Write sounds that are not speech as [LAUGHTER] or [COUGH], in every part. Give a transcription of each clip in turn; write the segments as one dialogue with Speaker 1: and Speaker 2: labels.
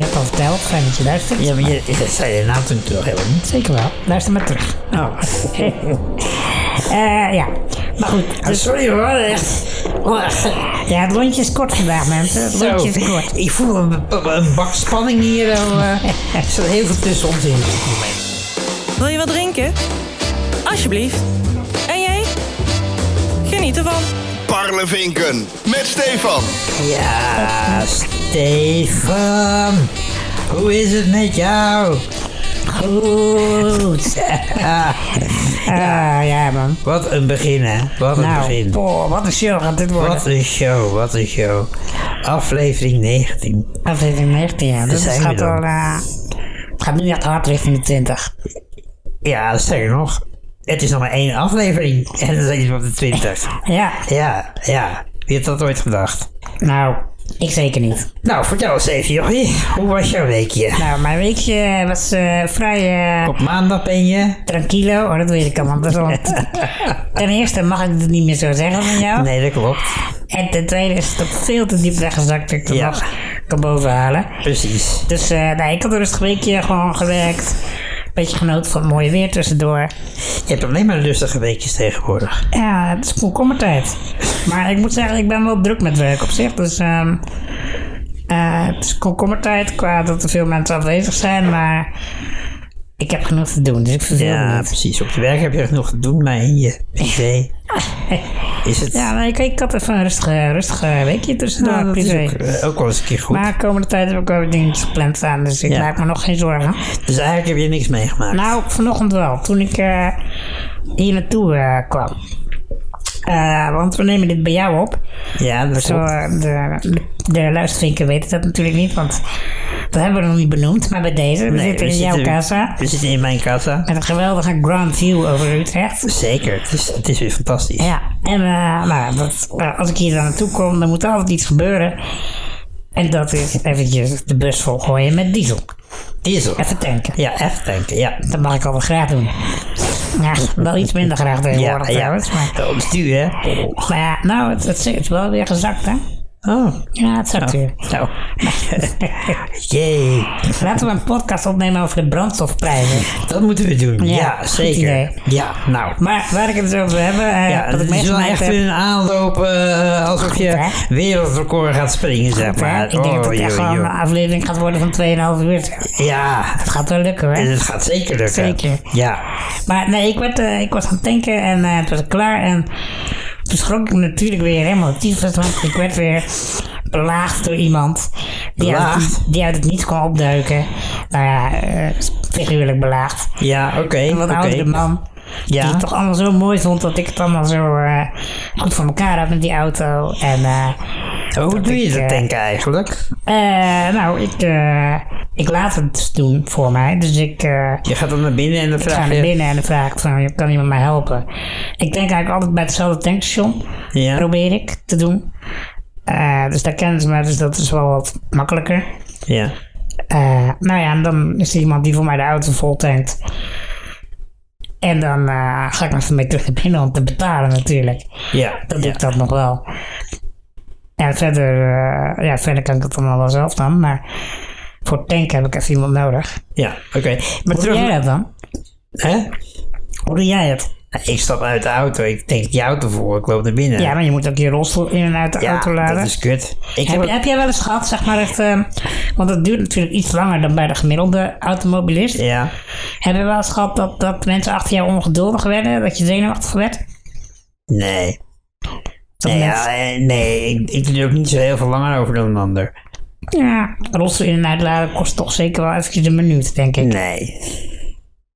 Speaker 1: Net al verteld, fijn dat je luistert.
Speaker 2: Ja, maar je, dat zei je naam toen toch helemaal niet.
Speaker 1: Zeker wel, luister maar terug.
Speaker 2: Oh.
Speaker 1: [LAUGHS] Eh, ja, maar goed.
Speaker 2: Ah, sorry hoor, echt.
Speaker 1: Ja, het lontje is kort vandaag, mensen. Het
Speaker 2: Zo.
Speaker 1: lontje is kort.
Speaker 2: Ik voel een, een bak spanning hier. al, eh. er zit heel veel tussen ons in op dit moment.
Speaker 3: Wil je wat drinken? Alsjeblieft. En jij? Geniet ervan.
Speaker 4: Parlevinken met Stefan.
Speaker 2: Ja, Stefan. Hoe is het met jou? [LAUGHS]
Speaker 1: [LAUGHS]
Speaker 2: Goed.
Speaker 1: Ah, Eh, ja, man.
Speaker 2: Wat een begin, hè? Wat een
Speaker 1: Nou,
Speaker 2: begin.
Speaker 1: boah, wat een show gaat dit worden.
Speaker 2: Wat een show, wat een show. Aflevering 19.
Speaker 1: Aflevering 19, ja. Dus het
Speaker 2: zijn we
Speaker 1: gaat
Speaker 2: dan.
Speaker 1: wel... eh, het gaat nu echt hard richting de 20.
Speaker 2: Ja, sterker nog. Het is nog maar één aflevering. En dan zijn we op de 20.
Speaker 1: Ja,
Speaker 2: Ja, ja. Wie had dat ooit gedacht?
Speaker 1: nou, ik zeker niet.
Speaker 2: Nou, vertel eens even, jochie. Hoe was jouw weekje?
Speaker 1: Nou, mijn weekje was eh, vrij... eh,
Speaker 2: Op maandag ben je...
Speaker 1: Tranquilo, oh, dat weet ik allemaal. Dat is wel-
Speaker 2: [LAUGHS]
Speaker 1: Ten eerste mag ik het niet meer zo zeggen van jou.
Speaker 2: Nee, dat klopt.
Speaker 1: En ten tweede is het ook veel te diep weggezakt dat ik het
Speaker 2: Ja.
Speaker 1: nog kan bovenhalen.
Speaker 2: Precies.
Speaker 1: Dus eh, nee, ik had een rustig weekje gewoon gewerkt. Beetje genoten van het mooie weer tussendoor.
Speaker 2: Je hebt alleen maar rustige weekjes tegenwoordig.
Speaker 1: Ja, het is komkommertijd. Maar ik moet zeggen, ik ben wel druk met werk op zich. Dus ehm, eh, het is komkommertijd qua dat er veel mensen afwezig zijn. Maar ik heb genoeg te doen, dus ik verveel me
Speaker 2: Ja,
Speaker 1: niet.
Speaker 2: precies. Op je werk heb je echt nog te doen, maar in je
Speaker 1: [LAUGHS]
Speaker 2: privé is het...
Speaker 1: Ja, maar ik, ik had even een rustige, rustige weekje tussendoor.
Speaker 2: Nou, dat is
Speaker 1: privé.
Speaker 2: ook, eh, ook wel eens een keer goed.
Speaker 1: Maar de komende tijd heb ik ook dingetjes gepland staan, dus ik
Speaker 2: Ja.
Speaker 1: maak me nog geen zorgen.
Speaker 2: Dus eigenlijk heb je niks meegemaakt.
Speaker 1: Nou, vanochtend wel, toen ik eh, hier naartoe eh, kwam. Eh, want we nemen dit bij jou op.
Speaker 2: ja, dat
Speaker 1: Zo,
Speaker 2: klopt.
Speaker 1: eh, de, de, de luistervinken weten dat natuurlijk niet, want dat hebben we nog niet benoemd. Maar bij deze, we
Speaker 2: Nee,
Speaker 1: zitten in
Speaker 2: we
Speaker 1: jouw
Speaker 2: zitten-
Speaker 1: casa.
Speaker 2: We zitten in mijn kassa.
Speaker 1: Met een geweldige grand view over Utrecht.
Speaker 2: Zeker, het is, het is weer fantastisch.
Speaker 1: Ja, en eh, nou, dat, eh, als ik hier dan naartoe kom, dan moet er altijd iets gebeuren. En dat is eventjes de bus volgooien met diesel.
Speaker 2: Diesel.
Speaker 1: Even tanken.
Speaker 2: Ja, even tanken, ja.
Speaker 1: Dat mag ik altijd graag doen. Ja, wel iets minder graag
Speaker 2: Ja,
Speaker 1: tegenwoordig
Speaker 2: ja.
Speaker 1: trouwens. Maar,
Speaker 2: Dat is duur, hè?
Speaker 1: maar ja, nou, het, het is wel weer gezakt, hè?
Speaker 2: Oh,
Speaker 1: Ja, het zakt weer. [LAUGHS]
Speaker 2: nou. [LAUGHS] Jee,
Speaker 1: Laten we een podcast opnemen over de brandstofprijzen.
Speaker 2: dat moeten we doen.
Speaker 1: Ja,
Speaker 2: Ja,
Speaker 1: goed idee.
Speaker 2: zeker. Ja, nou.
Speaker 1: Maar waar ik het dus over heb, eh,
Speaker 2: Ja,
Speaker 1: dat ik
Speaker 2: het is wel
Speaker 1: meegemaakt
Speaker 2: echt
Speaker 1: heb...
Speaker 2: een aanloop eh, alsof je
Speaker 1: hè?
Speaker 2: wereldrecord gaat springen, zeg
Speaker 1: hè,
Speaker 2: maar. Oh,
Speaker 1: ik denk dat het
Speaker 2: Oei,
Speaker 1: echt
Speaker 2: oei,
Speaker 1: gewoon een
Speaker 2: oei.
Speaker 1: aflevering gaat worden van 2,5 uur.
Speaker 2: Ja,
Speaker 1: Het gaat wel lukken,
Speaker 2: en
Speaker 1: hoor.
Speaker 2: het gaat zeker lukken.
Speaker 1: Zeker.
Speaker 2: Ja,
Speaker 1: Maar nee, ik, werd, eh, ik was aan het tanken en eh, het was klaar. En toen schrok ik natuurlijk weer helemaal tyfus, want ik werd weer belaagd door iemand die uit, het,
Speaker 2: Belaagd?
Speaker 1: die uit het niets kon opduiken. Nou ja, eh, figuurlijk belaagd.
Speaker 2: ja oké.
Speaker 1: Een wat
Speaker 2: oké.
Speaker 1: oudere man. Die
Speaker 2: Ja,
Speaker 1: het toch allemaal zo mooi vond dat ik het allemaal zo eh, goed voor elkaar had met die auto. En eh,
Speaker 2: Oh, hoe doe je
Speaker 1: ik, eh,
Speaker 2: dat tanken eigenlijk?
Speaker 1: eh, nou, ik, eh, ik laat het doen voor mij. Dus ik, eh,
Speaker 2: Je gaat dan naar binnen en dan
Speaker 1: ik ga
Speaker 2: vraag
Speaker 1: naar
Speaker 2: je...
Speaker 1: binnen en dan vraag ik van, kan iemand mij helpen? Ik denk eigenlijk altijd bij hetzelfde tankstation,
Speaker 2: Ja,
Speaker 1: probeer ik te doen. Eh, dus daar kennen ze me, dus dat is wel wat makkelijker.
Speaker 2: ja.
Speaker 1: Eh, nou ja, en dan is er iemand die voor mij de auto vol tankt. En dan eh, ga ik nog even mee terug naar binnen om te betalen natuurlijk.
Speaker 2: Ja,
Speaker 1: Dan doe
Speaker 2: ja.
Speaker 1: ik dat nog wel. En verder, eh, ja, verder kan ik het allemaal wel zelf dan, maar voor tanken heb ik even iemand nodig.
Speaker 2: Ja, oké.
Speaker 1: Maar
Speaker 2: Maar
Speaker 1: Hoe doe
Speaker 2: terug...
Speaker 1: jij dat dan?
Speaker 2: Hè?
Speaker 1: Hoe doe jij het?
Speaker 2: Ik stap uit de auto, ik denk die auto voor, ik loop naar binnen.
Speaker 1: Ja, maar je moet ook je rolstoel in en uit de
Speaker 2: Ja,
Speaker 1: auto laden.
Speaker 2: dat is kut. Ik
Speaker 1: Heb,
Speaker 2: heb,
Speaker 1: je- heb jij wel eens gehad, zeg maar, echt, ehm, want het duurt natuurlijk iets langer dan bij de gemiddelde automobilist.
Speaker 2: ja,
Speaker 1: Heb je wel eens gehad dat, dat mensen achter jou ongeduldig werden, dat je zenuwachtig werd?
Speaker 2: nee.
Speaker 1: Dat
Speaker 2: Nee,
Speaker 1: mensen-
Speaker 2: ja, eh, nee ik, ik doe er ook niet zo heel veel langer over dan een ander.
Speaker 1: ja, rolstoel in en uitladen kost toch zeker wel eventjes een minuut, denk ik.
Speaker 2: Mm. Nee.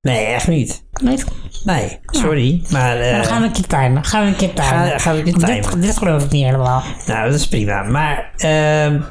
Speaker 2: Nee, echt niet.
Speaker 1: Niet?
Speaker 2: Nee, sorry. Maar, eh,
Speaker 1: Dan gaan we een keer timen. Gaan we een keer timen.
Speaker 2: Ga- gaan we een keer
Speaker 1: Dit-
Speaker 2: timen.
Speaker 1: Dit, geloof ik niet helemaal.
Speaker 2: nou, dat is prima. Maar ehm,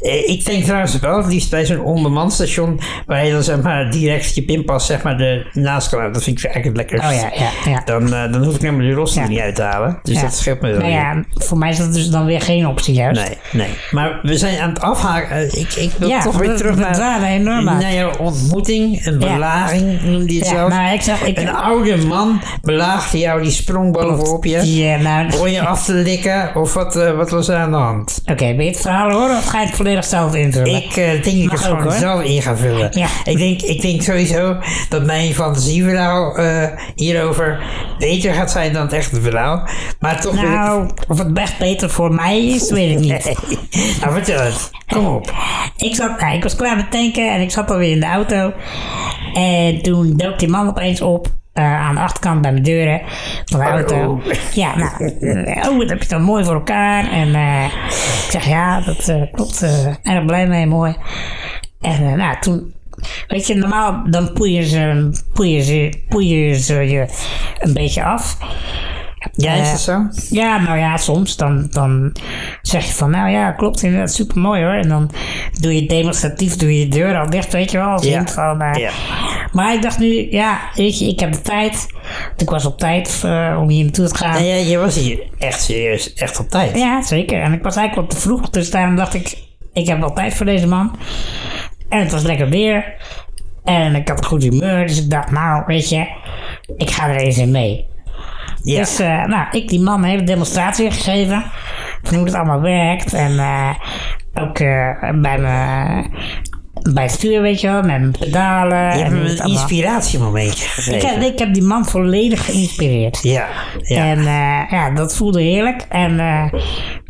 Speaker 2: eh, ik denk trouwens wel het liefst bij zo'n onbemand station waar je dan zeg maar direct je pinpas zeg maar ernaast kan houden. Dat vind ik eigenlijk het
Speaker 1: Oh
Speaker 2: lekkerst.
Speaker 1: ja, ja, ja.
Speaker 2: Dan, eh, dan hoef ik namelijk de rolstoel
Speaker 1: Ja.
Speaker 2: niet uit te halen. Dus
Speaker 1: Ja.
Speaker 2: dat scheelt me wel
Speaker 1: Nou
Speaker 2: weer.
Speaker 1: ja, voor mij is dat dus dan weer geen optie juist.
Speaker 2: Nee, nee. Maar we zijn aan het afhaken. Eh, Ik, ik wil
Speaker 1: Ja,
Speaker 2: toch weer
Speaker 1: we-
Speaker 2: terug
Speaker 1: we
Speaker 2: naar,
Speaker 1: dwalen enorm af.
Speaker 2: naar jouw ontmoeting. Een
Speaker 1: Ja.
Speaker 2: belaging noemde je het
Speaker 1: Ja,
Speaker 2: zelf.
Speaker 1: maar ik zeg, ik,
Speaker 2: Een oude man belaagde jou, die sprong bovenop je.
Speaker 1: Ja, nou,
Speaker 2: Om je af te likken of wat, eh, wat was er aan de hand?
Speaker 1: Oké, ben je het verhaal hoor of ga je het volledig volledig zelf invullen.
Speaker 2: Ik eh, denk ik
Speaker 1: Mag
Speaker 2: het
Speaker 1: ook,
Speaker 2: gewoon
Speaker 1: hoor.
Speaker 2: zelf in ga vullen.
Speaker 1: Ja.
Speaker 2: Ik, denk, ik denk sowieso dat mijn fantasieverhaal eh, hierover beter gaat zijn dan het echte verhaal. Maar toch wil ik-
Speaker 1: nou, of het echt beter voor mij is, weet ik niet.
Speaker 2: nou, vertel het. Kom op.
Speaker 1: Ik, zat, nou, ik was klaar met tanken en ik zat alweer in de auto. En toen dook die man opeens op eh, aan de achterkant bij mijn deuren van de auto.
Speaker 2: Oh.
Speaker 1: Ja, nou, eh, oh, dat heb je dan mooi voor elkaar. En eh, ik zeg ja, dat eh, klopt. eh, erg blij mee, mooi. En eh, nou, toen. Weet je, normaal dan poeien ze, poeien ze, poeien ze je een beetje af.
Speaker 2: Ja, is
Speaker 1: Eh,
Speaker 2: dat zo?
Speaker 1: ja, nou ja, soms dan, dan zeg je van, nou ja, klopt inderdaad, super mooi hoor. En dan doe je demonstratief, doe je de deur al dicht, weet je wel. Als
Speaker 2: Ja.
Speaker 1: hint van, eh,
Speaker 2: Ja.
Speaker 1: Maar ik dacht nu, ja, weet je, ik heb de tijd. Want ik was op tijd eh, om hier naartoe te gaan.
Speaker 2: Nou, ja, je was hier echt serieus, echt op tijd.
Speaker 1: Ja, zeker. En ik was eigenlijk wat te vroeg, dus daarom dacht ik, ik heb wel tijd voor deze man. En het was lekker weer. En ik had een goed humeur, dus ik dacht, nou, weet je, ik ga er eens in mee.
Speaker 2: Ja.
Speaker 1: Dus eh, nou, ik die man een hele demonstratie gegeven van hoe het allemaal werkt. En eh, ook eh, bij, mijn, bij het stuur, weet je wel, met mijn pedalen.
Speaker 2: je
Speaker 1: en
Speaker 2: hebt
Speaker 1: hoe
Speaker 2: me
Speaker 1: het
Speaker 2: een
Speaker 1: allemaal-
Speaker 2: inspiratiemomentje gegeven.
Speaker 1: ik, heb, ik heb die man volledig geïnspireerd.
Speaker 2: Ja, ja.
Speaker 1: En eh, ja, dat voelde heerlijk. En eh,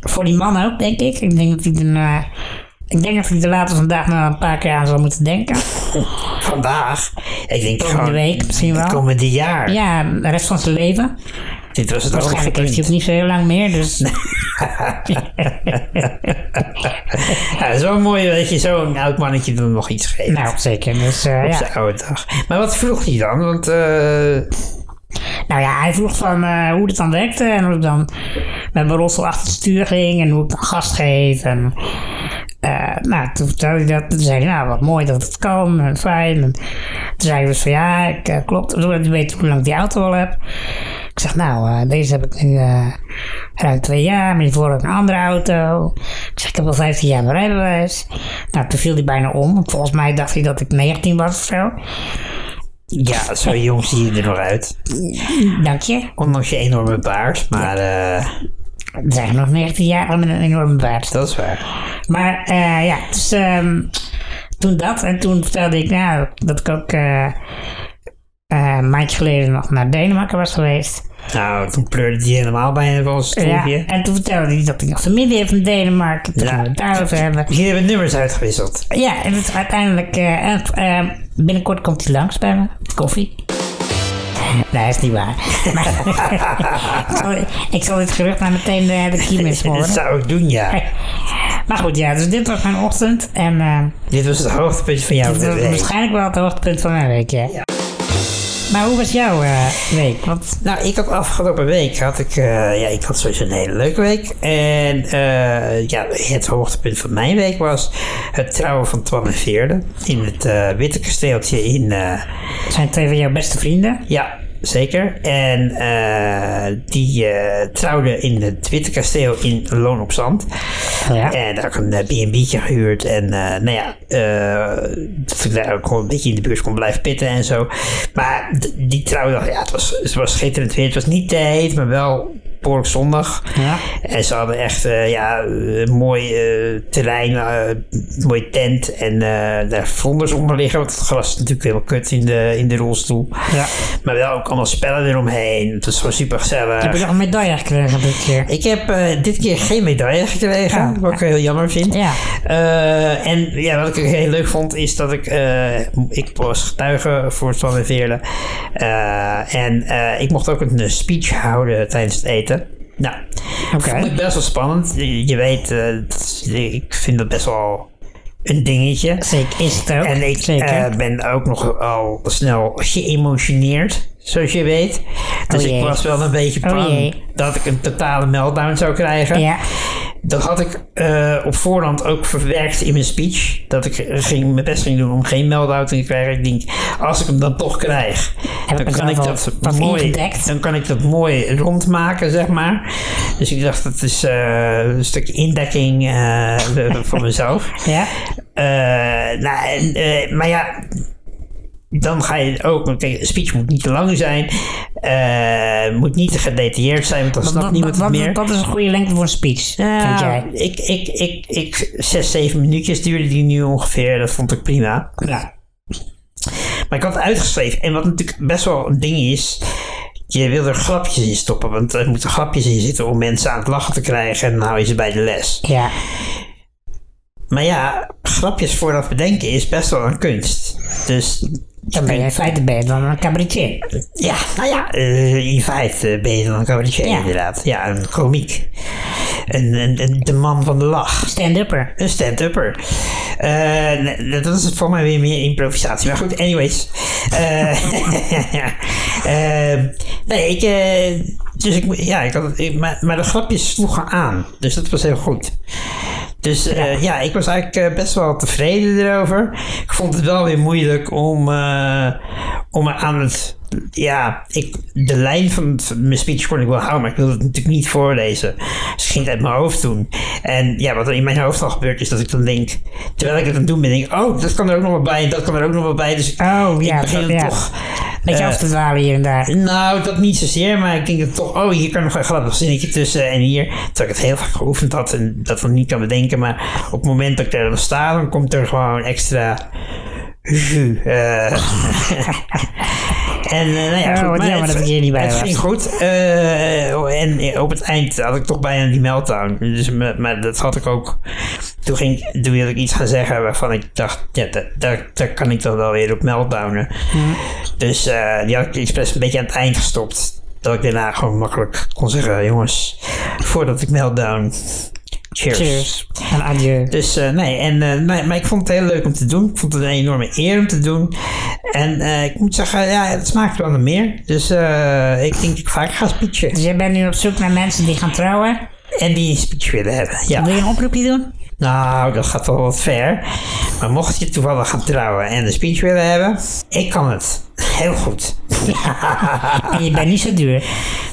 Speaker 1: voor die man ook, denk ik. Ik denk dat hij er, eh, ik denk dat hij er later vandaag nog een paar keer aan zal moeten
Speaker 2: [LAUGHS]
Speaker 1: denken.
Speaker 2: vandaag, ik denk
Speaker 1: Komende
Speaker 2: gewoon,
Speaker 1: week misschien
Speaker 2: het
Speaker 1: wel.
Speaker 2: komende jaar.
Speaker 1: Ja, de rest van zijn leven.
Speaker 2: Dit was het
Speaker 1: Waarschijnlijk heeft
Speaker 2: hoogtepunt.
Speaker 1: hij ook niet zo heel lang meer, dus... [LAUGHS]
Speaker 2: Ja, het is wel mooi dat je zo'n oud mannetje dan nog iets geeft.
Speaker 1: Nou, zeker. Dus, eh,
Speaker 2: op
Speaker 1: ja.
Speaker 2: zijn oude dag. Maar wat vroeg hij dan? Want eh,
Speaker 1: Nou ja, hij vroeg van eh, hoe het dan werkte en hoe ik dan met mijn rolstoel achter het stuur ging en hoe ik dan gas geef. En, eh, nou, toen vertelde hij dat. Toen zei hij, nou wat mooi dat het kan en fijn. En toen zei ik dus van ja, ik, eh, klopt. Ik weet hoe lang ik die auto al heb. Ik zeg, nou, eh, deze heb ik nu eh, ruim twee jaar, maar hiervoor had ik een andere auto. Ik zeg, ik heb al 15 jaar mijn rijbewijs. Nou, toen viel hij bijna om. want Volgens mij dacht hij dat ik 19 was of zo.
Speaker 2: ja, zo
Speaker 1: [LAUGHS]
Speaker 2: jong zie je er nog uit.
Speaker 1: Dank je.
Speaker 2: Ondanks je enorme baard, maar eh,
Speaker 1: Er zijn nog 19 jaar met een enorme baard.
Speaker 2: dat is waar.
Speaker 1: Maar eh, ja, dus ehm, toen dat. En toen vertelde ik nou, dat ik ook eh, eh, een maandje geleden nog naar Denemarken was geweest.
Speaker 2: Nou, toen pleurde hij helemaal bijna van ons
Speaker 1: Ja,
Speaker 2: stoeltje.
Speaker 1: en toen vertelde hij dat ik nog familie heeft in Denemarken. Toen
Speaker 2: Ja.
Speaker 1: gaan we het daarover hebben.
Speaker 2: Hier hebben we nummers uitgewisseld.
Speaker 1: Ja, en het is uiteindelijk... eh, en, eh, binnenkort komt hij langs bij me. Koffie. Nee, is niet waar. [LAUGHS] Maar [LAUGHS] ik, zal, ik zal dit gerucht maar meteen eh, de kiem
Speaker 2: [LAUGHS]
Speaker 1: in
Speaker 2: Dat
Speaker 1: smoren.
Speaker 2: zou ik doen, ja.
Speaker 1: Maar goed, ja, dus dit was mijn ochtend. En eh,
Speaker 2: Dit was het hoogtepunt van jouw
Speaker 1: Dat was
Speaker 2: week.
Speaker 1: waarschijnlijk wel het hoogtepunt van mijn week, ja. Maar hoe was jouw eh, week? Want
Speaker 2: Nou, ik had afgelopen week had ik, eh, ja, ik had sowieso een hele leuke week. En eh, ja, het hoogtepunt van mijn week was het trouwen van Twan en Veerde in het eh, Witte Kasteeltje in, eh,
Speaker 1: het zijn twee van jouw beste vrienden.
Speaker 2: ja, zeker. En eh, die eh trouwde in het Witte Kasteel in Loon op Zand.
Speaker 1: Ja.
Speaker 2: En daar had ik een eh, B&B'tje gehuurd. En eh, nou ja, eh, dat ik daar ook gewoon een beetje in de buurt kon blijven pitten en zo. Maar d- die trouwdag, ja, het was, het was schitterend weer. Het was niet te heet, maar wel behoorlijk zondag.
Speaker 1: Ja.
Speaker 2: En ze hadden echt eh, ja, een mooi eh, terrein, eh, mooie tent. En eh, daar vlonders onder liggen, want het gras is natuurlijk helemaal kut in de, in de rolstoel.
Speaker 1: Ja.
Speaker 2: Maar wel ook allemaal spellen eromheen. Het was gewoon super gezellig.
Speaker 1: Heb je nog een medaille gekregen dit keer?
Speaker 2: Ik heb eh, dit keer geen medaille gekregen,
Speaker 1: Ja.
Speaker 2: wat ik heel jammer vind.
Speaker 1: Ja.
Speaker 2: Eh, en ja, wat ik heel leuk vond, is dat ik, eh, ik was getuige voor Stan en Veerle. Eh, en eh, ik mocht ook een eh, speech houden tijdens het eten. Nou,
Speaker 1: Oké.
Speaker 2: vond ik best wel spannend. Je, je weet, eh, dat- ik vind dat best wel een dingetje.
Speaker 1: Zeker is het ook.
Speaker 2: En ik
Speaker 1: Oh, Zeker.
Speaker 2: eh, ben ook nogal snel geëmotioneerd, zoals je weet. Dus
Speaker 1: Oh jee.
Speaker 2: ik was wel een beetje
Speaker 1: Oh
Speaker 2: bang
Speaker 1: jee.
Speaker 2: dat ik een totale meltdown zou krijgen.
Speaker 1: ja.
Speaker 2: Dat had ik eh, op voorhand ook verwerkt in mijn speech. Dat ik ging, mijn best ging doen om geen meltdown te krijgen. Ik denk, als ik hem dan toch krijg,
Speaker 1: Heb ik
Speaker 2: dan kan, ik
Speaker 1: mezelf
Speaker 2: dat
Speaker 1: al wat
Speaker 2: mooi,
Speaker 1: ingedekt?
Speaker 2: dan kan ik dat mooi rondmaken, zeg maar. Dus ik dacht, dat is eh, een stukje indekking eh, [LAUGHS] voor mezelf.
Speaker 1: Ja.
Speaker 2: Eh, nou, en, eh, maar ja, dan ga je ook, want kijk, een speech moet niet te lang zijn, eh, moet niet te gedetailleerd zijn, want dan snapt niemand
Speaker 1: wat,
Speaker 2: het meer.
Speaker 1: Wat is een goede lengte voor een speech, vind
Speaker 2: Nou,
Speaker 1: jij?
Speaker 2: ik, ik, ik, ik, zes, zeven minuutjes duurde die nu ongeveer. Dat vond ik prima.
Speaker 1: Ja.
Speaker 2: Maar ik had het uitgeschreven. En wat natuurlijk best wel een ding is. Je wil er grapjes in stoppen. Want er moeten grapjes in zitten om mensen aan het lachen te krijgen. En dan hou je ze bij de les.
Speaker 1: Ja.
Speaker 2: Maar ja, grapjes vooraf bedenken is best wel een kunst. Dus
Speaker 1: Dan ben je in feite ben je dan een cabaretier.
Speaker 2: ja, nou ja, eh, in feite ben je dan een cabaretier
Speaker 1: Ja.
Speaker 2: inderdaad. Ja, een komiek. Een, een, een- de man van de lach.
Speaker 1: Stand-upper.
Speaker 2: Een stand-upper. Eh, nee, dat is voor mij weer meer improvisatie. Maar goed, anyways. Eh, [LAUGHS] eh, nee, ik... eh, dus ik, mo- ja, ik had, het- ik- maar, maar de grapjes sloegen aan. Dus dat was heel goed. Dus eh, ja, ik was eigenlijk eh, best wel tevreden erover. Ik vond het wel weer moeilijk om, eh, om aan het... Ja, ik, de lijn van, het- van mijn speech kon ik wel houden, maar ik wilde het natuurlijk niet voorlezen. Dus ik ging het uit mijn hoofd doen. En ja, wat er in mijn hoofd al gebeurt is dat ik dan denk... Terwijl ik het aan het doen ben, denk ik... Oh, dat kan er ook nog wel bij en dat kan er ook nog wel bij. Dus
Speaker 1: Oh, ja.
Speaker 2: ik begin
Speaker 1: dat-
Speaker 2: het
Speaker 1: ja.
Speaker 2: toch...
Speaker 1: Beetje
Speaker 2: eh,
Speaker 1: af te dwalen hier en daar.
Speaker 2: nou, dat niet zozeer, maar ik denk dat toch, oh, hier kan nog een grappig zinnetje tussen eh, en hier. Terwijl ik het heel vaak geoefend had en dat dan niet kan bedenken, maar op het moment dat ik daar dan sta, dan komt er gewoon extra. jus, eh. en eh, nou ja,
Speaker 1: Oh,
Speaker 2: goed,
Speaker 1: wat
Speaker 2: maar
Speaker 1: jammer
Speaker 2: het,
Speaker 1: dat ik hier niet bij
Speaker 2: het
Speaker 1: was.
Speaker 2: ging goed. eh, oh, en op het eind had ik toch bijna die meltdown. Dus, me- maar dat had ik ook. Toen, ging, ik- toen wilde ik iets gaan zeggen waarvan ik dacht, ja, da- daar, daar kan ik dan wel weer op meltdownen.
Speaker 1: Mhm.
Speaker 2: Dus eh, die had ik expres een beetje aan het eind gestopt. Dat ik daarna gewoon makkelijk kon zeggen, jongens, voordat ik meltdown. Cheers.
Speaker 1: Cheers. En adieu.
Speaker 2: Dus eh, nee, en, eh, nee, maar ik vond het heel leuk om te doen. Ik vond het een enorme eer om te doen. En eh, ik moet zeggen, ja, het smaakt wel naar meer. Dus eh, ik denk dat ik vaak ga speechen.
Speaker 1: Dus jij bent nu op zoek naar mensen die gaan trouwen.
Speaker 2: En die een speech willen hebben. Ja.
Speaker 1: Wil je een oproepje doen?
Speaker 2: Nou, dat gaat wel wat ver. Maar mocht je toevallig gaan trouwen en een speech willen hebben, ik kan het. Heel goed.
Speaker 1: En je bent niet zo duur.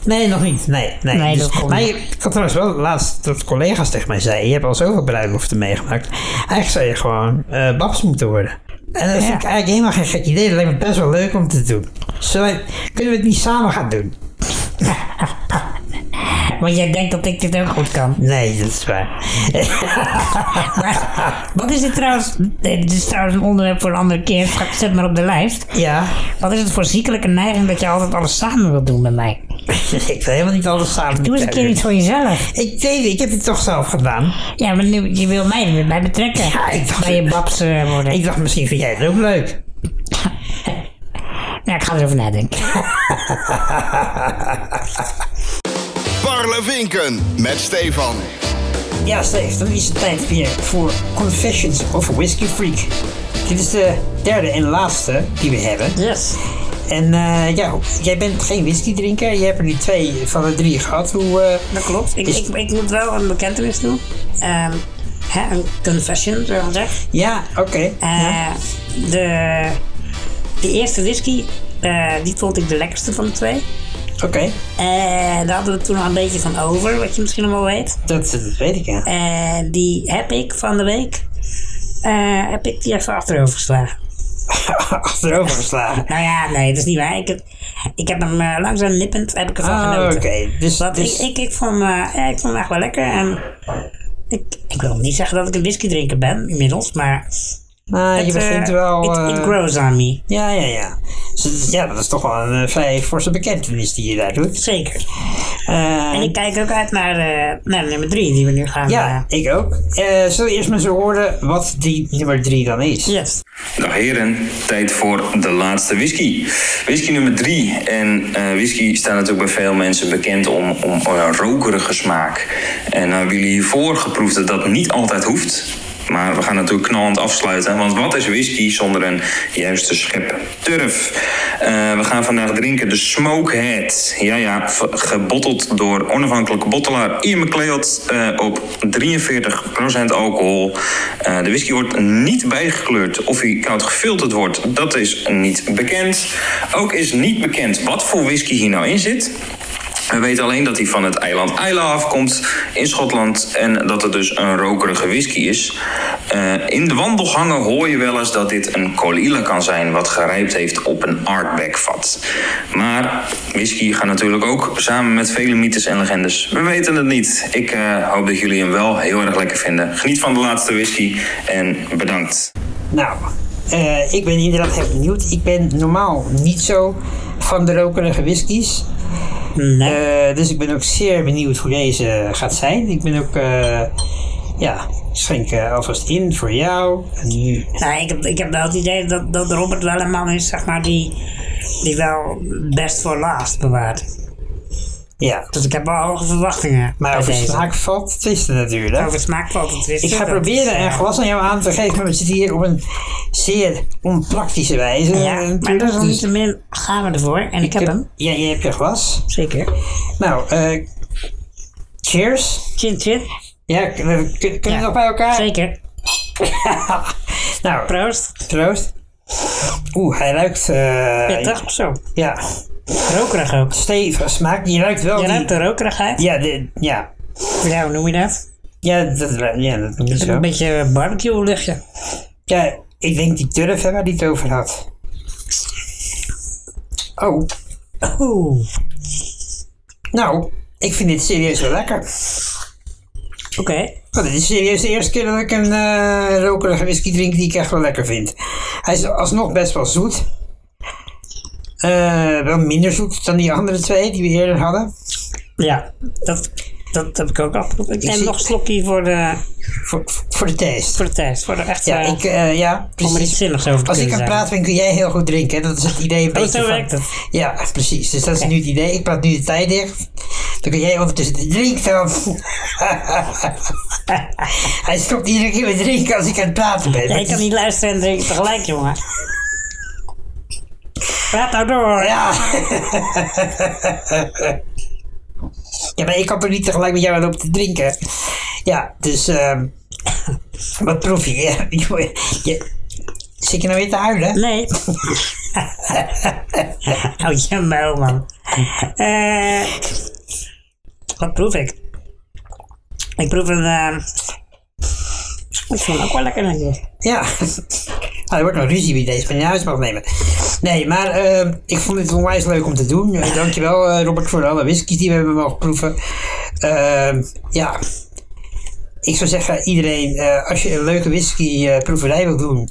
Speaker 2: Nee, nog niet. Nee, nee. Dus-
Speaker 1: Nee, dat komt
Speaker 2: maar
Speaker 1: nog.
Speaker 2: je- ik had trouwens wel laatst dat collega's tegen mij zeiden: Je hebt al zoveel bruiloften meegemaakt. Eigenlijk zou je gewoon eh babs moeten worden. En dat vind ik eigenlijk helemaal geen gek idee. Dat lijkt me best wel leuk om te doen. Zullen wij- kunnen we het niet samen gaan doen?
Speaker 1: Want jij denkt dat ik dit ook goed kan.
Speaker 2: Nee, dat is waar.
Speaker 1: Maar wat is dit trouwens? Nee, Dit is trouwens een onderwerp voor een andere keer. Zet zet maar op de lijst.
Speaker 2: Ja, [LAUGHS]
Speaker 1: Wat is het voor ziekelijke neiging dat je altijd alles samen wilt doen met mij?
Speaker 2: ik wil helemaal niet alles samen
Speaker 1: Doe eens een keer iets voor jezelf.
Speaker 2: Ik deed het. Ik heb het toch zelf gedaan.
Speaker 1: Ja, maar nu, je wil mij er weer bij betrekken.
Speaker 2: Ja, ik dacht-
Speaker 1: bij je babs eh, worden.
Speaker 2: Ik dacht, misschien vind jij het ook leuk.
Speaker 1: Ja, ik ga erover nadenken.
Speaker 4: Parlevinken met Stefan.
Speaker 2: Ja, Steve, dan is het tijd weer voor Confessions of a Whiskey Freak. Dit is de derde en laatste die we hebben.
Speaker 1: Yes.
Speaker 2: En eh, ja, jij bent geen whisky drinker. Je hebt er nu twee van de drie gehad. Hoe, eh,
Speaker 1: Dat klopt. Ik,
Speaker 2: Is-
Speaker 1: ik, ik moet wel een bekentenis doen. Ehm, hè, een confession, zo gezegd.
Speaker 2: Ja, oké.
Speaker 1: Eh, de, de eerste whisky, eh, die vond ik de lekkerste van de twee.
Speaker 2: Oké,
Speaker 1: En daar hadden we toen nog een beetje van over, wat je misschien nog wel weet.
Speaker 2: dat, dat weet ik ja. [LAUGHS]
Speaker 1: En die heb ik van de week, eh, heb ik die even achterover geslagen.
Speaker 2: Achterover geslagen.
Speaker 1: Nou ja, nee, dat is niet waar. Ik heb, ik heb hem eh, langzaam nippend, heb ik ervan
Speaker 2: Ah,
Speaker 1: genoten.
Speaker 2: oké. Dus,
Speaker 1: Want
Speaker 2: dus
Speaker 1: ik, ik, ik, vond, hem, eh, ja, ik vond hem echt wel lekker. En ik, ik wil niet zeggen dat ik een whiskydrinker ben inmiddels, maar
Speaker 2: nou, je
Speaker 1: het, eh,
Speaker 2: begint wel...
Speaker 1: it, it
Speaker 2: eh,
Speaker 1: grows on me.
Speaker 2: ja, ja, ja. Dus het is- ja, dat is toch wel een eh, vrij forse bekentenis die je daar doet.
Speaker 1: Zeker.
Speaker 2: Eh,
Speaker 1: En ik kijk ook uit naar, eh, naar nummer drie die we nu gaan.
Speaker 2: Ja, ik ook. Eh zullen we eerst maar eens horen wat die nummer 3 dan is?
Speaker 1: eh, yes.
Speaker 5: Dag Nou, heren, tijd voor de laatste whisky. Whisky nummer drie. En eh, whisky staat natuurlijk bij veel mensen bekend om, om een rokerige smaak. En nou hebben jullie hiervoor geproefd dat dat niet altijd hoeft. Maar we gaan natuurlijk knallend afsluiten. Want wat is whisky zonder een juiste schep turf? Eh, we gaan vandaag drinken de Smokehead. Ja, ja, v- gebotteld door onafhankelijke bottelaar Ian McLeod eh, op 43% alcohol. Eh, de whisky wordt niet bijgekleurd of hij koud gefilterd wordt. Dat is niet bekend. Ook is niet bekend wat voor whisky hier nou in zit. We weten alleen dat hij van het eiland Isla afkomt in Schotland en dat het dus een rokerige whisky is. Eh, in de wandelgangen hoor je wel eens dat dit een colila kan zijn wat gerijpt heeft op een artbackvat. Maar whisky gaat natuurlijk ook samen met vele mythes en legendes. We weten het niet. Ik eh, hoop dat jullie hem wel heel erg lekker vinden. Geniet van de laatste whisky en bedankt.
Speaker 2: Nou, eh, ik ben inderdaad heel benieuwd. Ik ben normaal niet zo van de rokerige whiskies.
Speaker 1: Nee.
Speaker 2: Eh, dus ik ben ook zeer benieuwd hoe deze gaat zijn. Ik ben ook, eh, ja, ik schenk eh, alvast in voor jou. En nu,
Speaker 1: Nou, ik, heb, ik heb wel het idee dat, dat Robert wel een man is, zeg maar, die, die wel best voor last bewaart.
Speaker 2: ja.
Speaker 1: Dus ik heb wel hoge verwachtingen
Speaker 2: Maar
Speaker 1: bij
Speaker 2: over
Speaker 1: deze.
Speaker 2: smaak valt te twisten natuurlijk.
Speaker 1: Over smaak valt het wisten.
Speaker 2: Ik ga
Speaker 1: dat is,
Speaker 2: proberen een
Speaker 1: eh,
Speaker 2: glas aan jou aan te geven, maar we zitten hier op een zeer onpraktische wijze. eh,
Speaker 1: Ja, maar
Speaker 2: natuurlijk. Dus
Speaker 1: desalniettemin gaan we ervoor. En ik, heb hem.
Speaker 2: Ja, je hebt je glas.
Speaker 1: Zeker.
Speaker 2: Nou, eh cheers.
Speaker 1: Chin chin.
Speaker 2: Ja, k- we- k- kunnen
Speaker 1: Ja.
Speaker 2: we nog bij elkaar?
Speaker 1: Zeker.
Speaker 2: [LAUGHS] Nou,
Speaker 1: Proost.
Speaker 2: troost. Oeh, hij ruikt... eh,
Speaker 1: Pittig of zo.
Speaker 2: Ja,
Speaker 1: Rokerig ook.
Speaker 2: stevig smaak. Je ruikt wel
Speaker 1: Je
Speaker 2: die...
Speaker 1: ruikt de rokerigheid.
Speaker 2: Ja, de, ja.
Speaker 1: Ja, hoe noem je dat?
Speaker 2: Ja, dat, ja, dat moet niet zo.
Speaker 1: Een beetje barbecue luchtje.
Speaker 2: Ja, ik denk die turf hè, waar die het over had. Oh,
Speaker 1: Oeh.
Speaker 2: nou, ik vind dit serieus wel lekker.
Speaker 1: Oké.
Speaker 2: Nou, dit is serieus de eerste keer dat ik een eh, rokerige whisky drink die ik echt wel lekker vind. Hij is alsnog best wel zoet. Eh, wel minder zoet dan die andere twee die we eerder hadden.
Speaker 1: Ja, dat, dat heb ik ook afgeprobeerd. En
Speaker 2: zie-
Speaker 1: nog een slokje voor de,
Speaker 2: Voor, voor de taste.
Speaker 1: voor de test. Voor de echte...
Speaker 2: Ja, ik, eh, ja
Speaker 1: om er iets
Speaker 2: precies.
Speaker 1: zinnigs over te
Speaker 2: Als ik
Speaker 1: kunnen
Speaker 2: aan praat
Speaker 1: zeggen.
Speaker 2: ben, kun jij heel goed drinken. hè. Dat is het idee een
Speaker 1: Oh,
Speaker 2: beetje
Speaker 1: zo
Speaker 2: van-
Speaker 1: werkt het.
Speaker 2: Ja, precies. Dus dat is nu het idee. Ik praat nu de tijd dicht. Dan kun jij ondertussen
Speaker 1: [LAUGHS]
Speaker 2: drinken. Dan... Hij stopt iedere keer met drinken als ik aan het praten ben.
Speaker 1: Ja, ik kan niet luisteren en drinken tegelijk, jongen. Praat nou door.
Speaker 2: Ja. [LAUGHS] ja, maar ik kan toch niet tegelijk met jou lopen te drinken. Ja, dus ehm, [LAUGHS] wat proef je? [LAUGHS] Ja, je- je- Zit je nou weer te huilen?
Speaker 1: Nee. [LAUGHS] Hou je muil, man. Eh, wat proef ik? Ik proef een... eh, ik vind hem ook wel lekker, denk ik.
Speaker 2: Ja. [LAUGHS] Ah, er wordt nog ruzie wie deze van je huis mag nemen. Nee, maar ehm, ik vond het onwijs leuk om te doen. Eh, dankjewel eh, Robert voor alle whiskies die we hebben mogen proeven. Ehm, ja. Ik zou zeggen, iedereen, eh, als je een leuke whiskyproeverij wilt doen,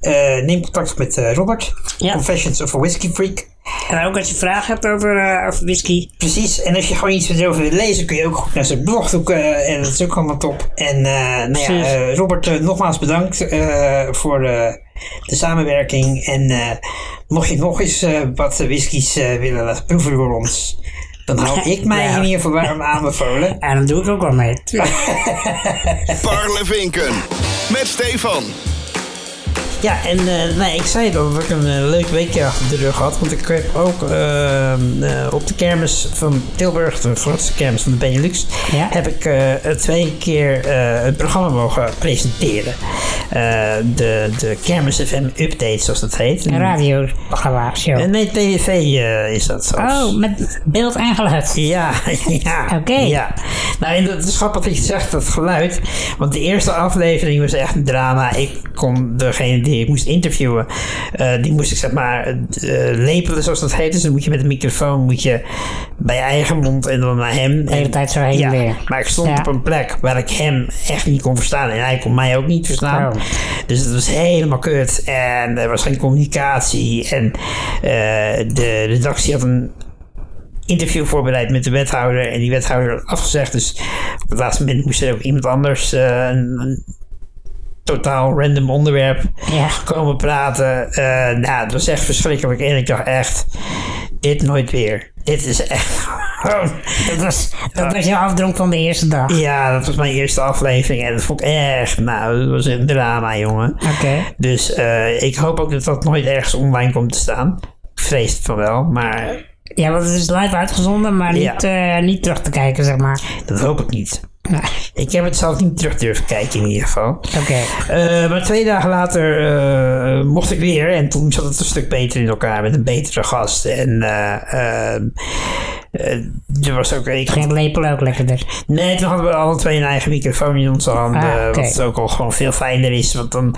Speaker 2: eh, neem contact met eh, Robert.
Speaker 1: Ja.
Speaker 2: Confessions of a Whisky Freak.
Speaker 1: En ook als je vragen hebt over, eh, over whisky.
Speaker 2: Precies, en als je gewoon iets erover wilt lezen, kun je ook goed naar zijn blog zoeken. eh, En dat is ook allemaal top. En eh, nou ja,
Speaker 1: Precies.
Speaker 2: eh, Robert, eh, nogmaals bedankt eh, voor eh, de samenwerking. En eh, mocht je nog eens eh, wat whiskies eh, willen laten proeven door ons, dan hou ik mij
Speaker 1: Ja.
Speaker 2: in ieder geval warm aanbevolen.
Speaker 1: En dan doe ik ook wel mee. Tuurlijk.
Speaker 4: Parlevinken. Met Stefan.
Speaker 2: Ja, en eh, nou, ik zei al dat ik een eh, leuk weekje achter de rug had. Want ik heb ook eh, eh, op de kermis van Tilburg, de grootste kermis van de Benelux,
Speaker 1: Ja.
Speaker 2: heb ik eh, twee keer eh, een programma mogen presenteren. Eh, de, de Kermis FM Update, zoals dat heet.
Speaker 1: Een radioprogramma, show.
Speaker 2: Eh, nee, TV eh, is dat zelfs.
Speaker 1: Oh, met beeld en geluid.
Speaker 2: Ja, [LAUGHS] ja.
Speaker 1: Oké.
Speaker 2: Ja. Nou, en dat is grappig dat je zegt dat geluid. Want de eerste aflevering was echt een drama. Ik kon degene die ik moest interviewen, eh, die moest ik zeg maar eh, lepelen zoals dat heet. Dus dan moet je met een microfoon moet je bij je eigen mond en dan naar hem.
Speaker 1: De hele tijd zo heen en
Speaker 2: ja,
Speaker 1: weer.
Speaker 2: maar ik stond
Speaker 1: Ja.
Speaker 2: op een plek waar ik hem echt niet kon verstaan. En hij kon mij ook niet verstaan.
Speaker 1: Oh.
Speaker 2: Dus het was helemaal kut. En er was geen communicatie. En eh, de redactie had een interview voorbereid met de wethouder. En die wethouder had afgezegd. Dus op het laatste moment moest er ook iemand anders eh, een, een totaal random onderwerp
Speaker 1: Ja.
Speaker 2: komen praten. Eh, nou, het was echt verschrikkelijk. En ik dacht echt, dit nooit weer. Dit is echt [LAUGHS] gewoon...
Speaker 1: Dat was, dat was jouw afdronk van de eerste dag. Oké.
Speaker 2: Ja, dat was mijn eerste aflevering en dat vond ik echt, nou, dat was een drama, jongen. Dus eh, ik hoop ook dat dat nooit ergens online komt te staan. Ik vrees het van wel, maar
Speaker 1: Ja, want het is live uitgezonden, maar
Speaker 2: Ja.
Speaker 1: niet, eh, niet terug te kijken, zeg maar.
Speaker 2: dat hoop ik niet.
Speaker 1: Nou,
Speaker 2: Ik heb het zelf niet terug durven kijken in ieder geval.
Speaker 1: Oké.
Speaker 2: Eh, maar twee dagen later eh, mocht ik weer en toen zat het een stuk beter in elkaar met een betere gast. En eh, eh, eh, er was ook één keer-
Speaker 1: Geen lepel ook lekkerder.
Speaker 2: Nee, toen hadden we alle twee een eigen microfoon in onze handen.
Speaker 1: Ah, oké.
Speaker 2: eh, Wat ook al gewoon veel fijner is. Want dan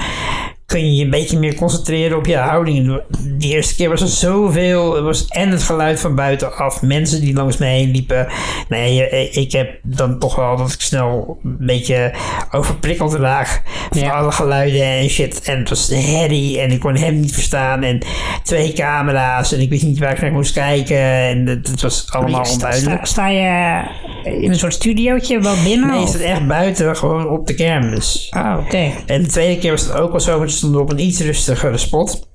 Speaker 2: kun je je een beetje meer concentreren op je houding. De eerste keer was er zoveel. Er was en het geluid van buitenaf. Mensen die langs me heen liepen. Nee, je- ik heb dan toch wel dat ik snel een beetje overprikkeld raak. Van
Speaker 1: Ja.
Speaker 2: alle geluiden en shit. En het was herrie. En ik kon hem niet verstaan. En twee camera's. En ik wist niet waar ik naar moest kijken. En het, het was allemaal
Speaker 1: sta,
Speaker 2: onduidelijk.
Speaker 1: sta- sta je eh, in een soort studiootje wel binnen?
Speaker 2: Nee,
Speaker 1: of-
Speaker 2: is het echt buiten, gewoon op de kermis.
Speaker 1: Oh, oké.
Speaker 2: En de tweede keer was het ook al zo, want ze stonden op een iets rustigere spot.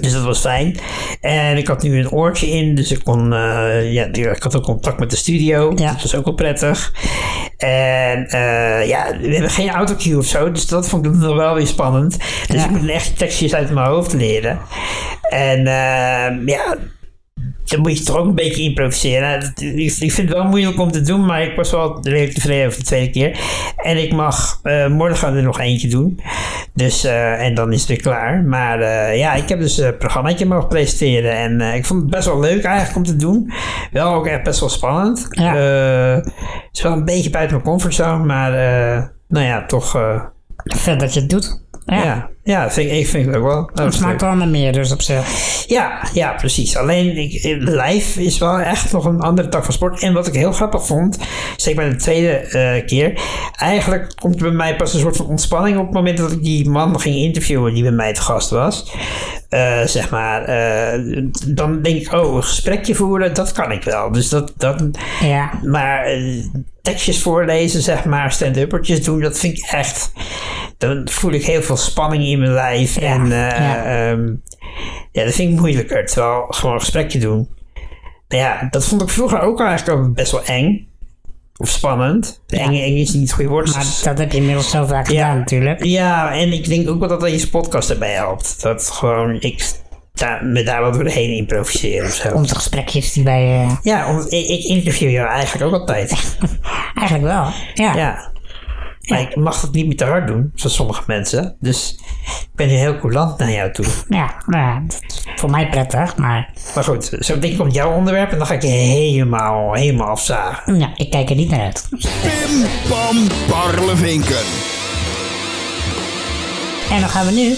Speaker 2: Dus dat was fijn. En ik had nu een oortje in, dus ik kon, eh, ja, ik had ook contact met de studio.
Speaker 1: Ja.
Speaker 2: Dat was ook wel prettig. En eh, ja, we hebben geen autocue of zo, dus dat vond ik nog wel weer spannend. Dus
Speaker 1: Ja.
Speaker 2: ik moet echt tekstjes uit mijn hoofd leren. En eh, ja, dan moet je toch ook een beetje improviseren. Dat- Ik, ik vind het wel moeilijk om te doen, maar ik was wel redelijk tevreden over de tweede keer. En ik mag eh, morgen er nog eentje doen. Dus, eh, en dan is het weer klaar. Maar eh, ja, ik heb dus een programmaatje mogen presenteren. En eh, ik vond het best wel leuk eigenlijk om te doen. Wel ook echt best wel spannend.
Speaker 1: Ja.
Speaker 2: Eh, het is wel een beetje buiten mijn comfortzone, maar eh, nou ja, toch. eh,
Speaker 1: Vet dat je het doet. Ja.
Speaker 2: ja, ja. vind ik, ik vind het ook wel. Nou, Dat
Speaker 1: Het
Speaker 2: was leuk.
Speaker 1: smaakt wel naar meer, dus op zich.
Speaker 2: Ja, ja, precies. Alleen ik, eh, live is wel echt nog een andere tak van sport. En wat ik heel grappig vond, zeker bij de tweede eh, keer, eigenlijk komt er bij mij pas een soort van ontspanning op het moment dat ik die man ging interviewen die bij mij te gast was. Eh, zeg maar, eh, dan denk ik, oh, een gesprekje voeren, dat kan ik wel. Dus dat, dat
Speaker 1: Ja.
Speaker 2: maar eh, tekstjes voorlezen, zeg maar, stand-uppertjes doen, dat vind ik echt. Dan voel ik heel veel spanning in mijn lijf.
Speaker 1: Ja,
Speaker 2: En eh,
Speaker 1: ja.
Speaker 2: ehm, ja, dat vind ik moeilijker. Terwijl gewoon een gesprekje doen. Nou ja, dat vond ik vroeger ook eigenlijk al best wel eng. Of spannend. Eng, eng is niet het goede woord.
Speaker 1: Maar dat heb je inmiddels zo vaak gedaan natuurlijk.
Speaker 2: Ja, en ik denk ook wel dat dat deze podcast erbij helpt. Dat gewoon ik daar, me daar wat doorheen improviseer of zo.
Speaker 1: Onze gesprekjes die wij... eh,
Speaker 2: Ja, om, ik, ik interview jou eigenlijk ook altijd.
Speaker 1: eigenlijk wel. Ja.
Speaker 2: Ja. Maar ik mag dat niet meer te hard doen, zoals sommige mensen. Dus ik ben nu heel coulant naar jou toe.
Speaker 1: Ja, nou ja, dat is voor mij prettig, maar
Speaker 2: Maar goed, zo denk ik op jouw onderwerp en dan ga ik je helemaal, helemaal afzagen.
Speaker 1: ja, ik kijk er niet naar uit.
Speaker 4: Pim Pam Parlevinken.
Speaker 1: En dan gaan we nu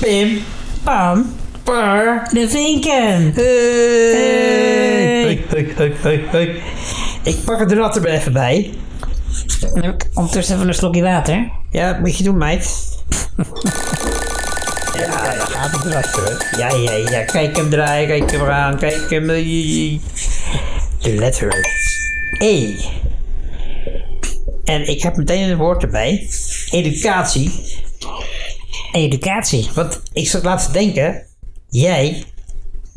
Speaker 2: Pim,
Speaker 1: Pam
Speaker 2: par,
Speaker 1: de Vinken.
Speaker 2: hey. Hey, hey, hey, hey. Ik pak het rat er maar even bij.
Speaker 1: Dan heb ik Ondertussen even een slokje water.
Speaker 2: Ja, dat moet je doen, meid. [LAUGHS] Ja, daar gaat het rat hoor. Ja, ja, ja. Kijk hem draaien, kijk hem aan, kijk hem... eh, De letter E. En ik heb meteen een woord erbij. Educatie.
Speaker 1: Educatie.
Speaker 2: Want ik zat laatst te denken. Jij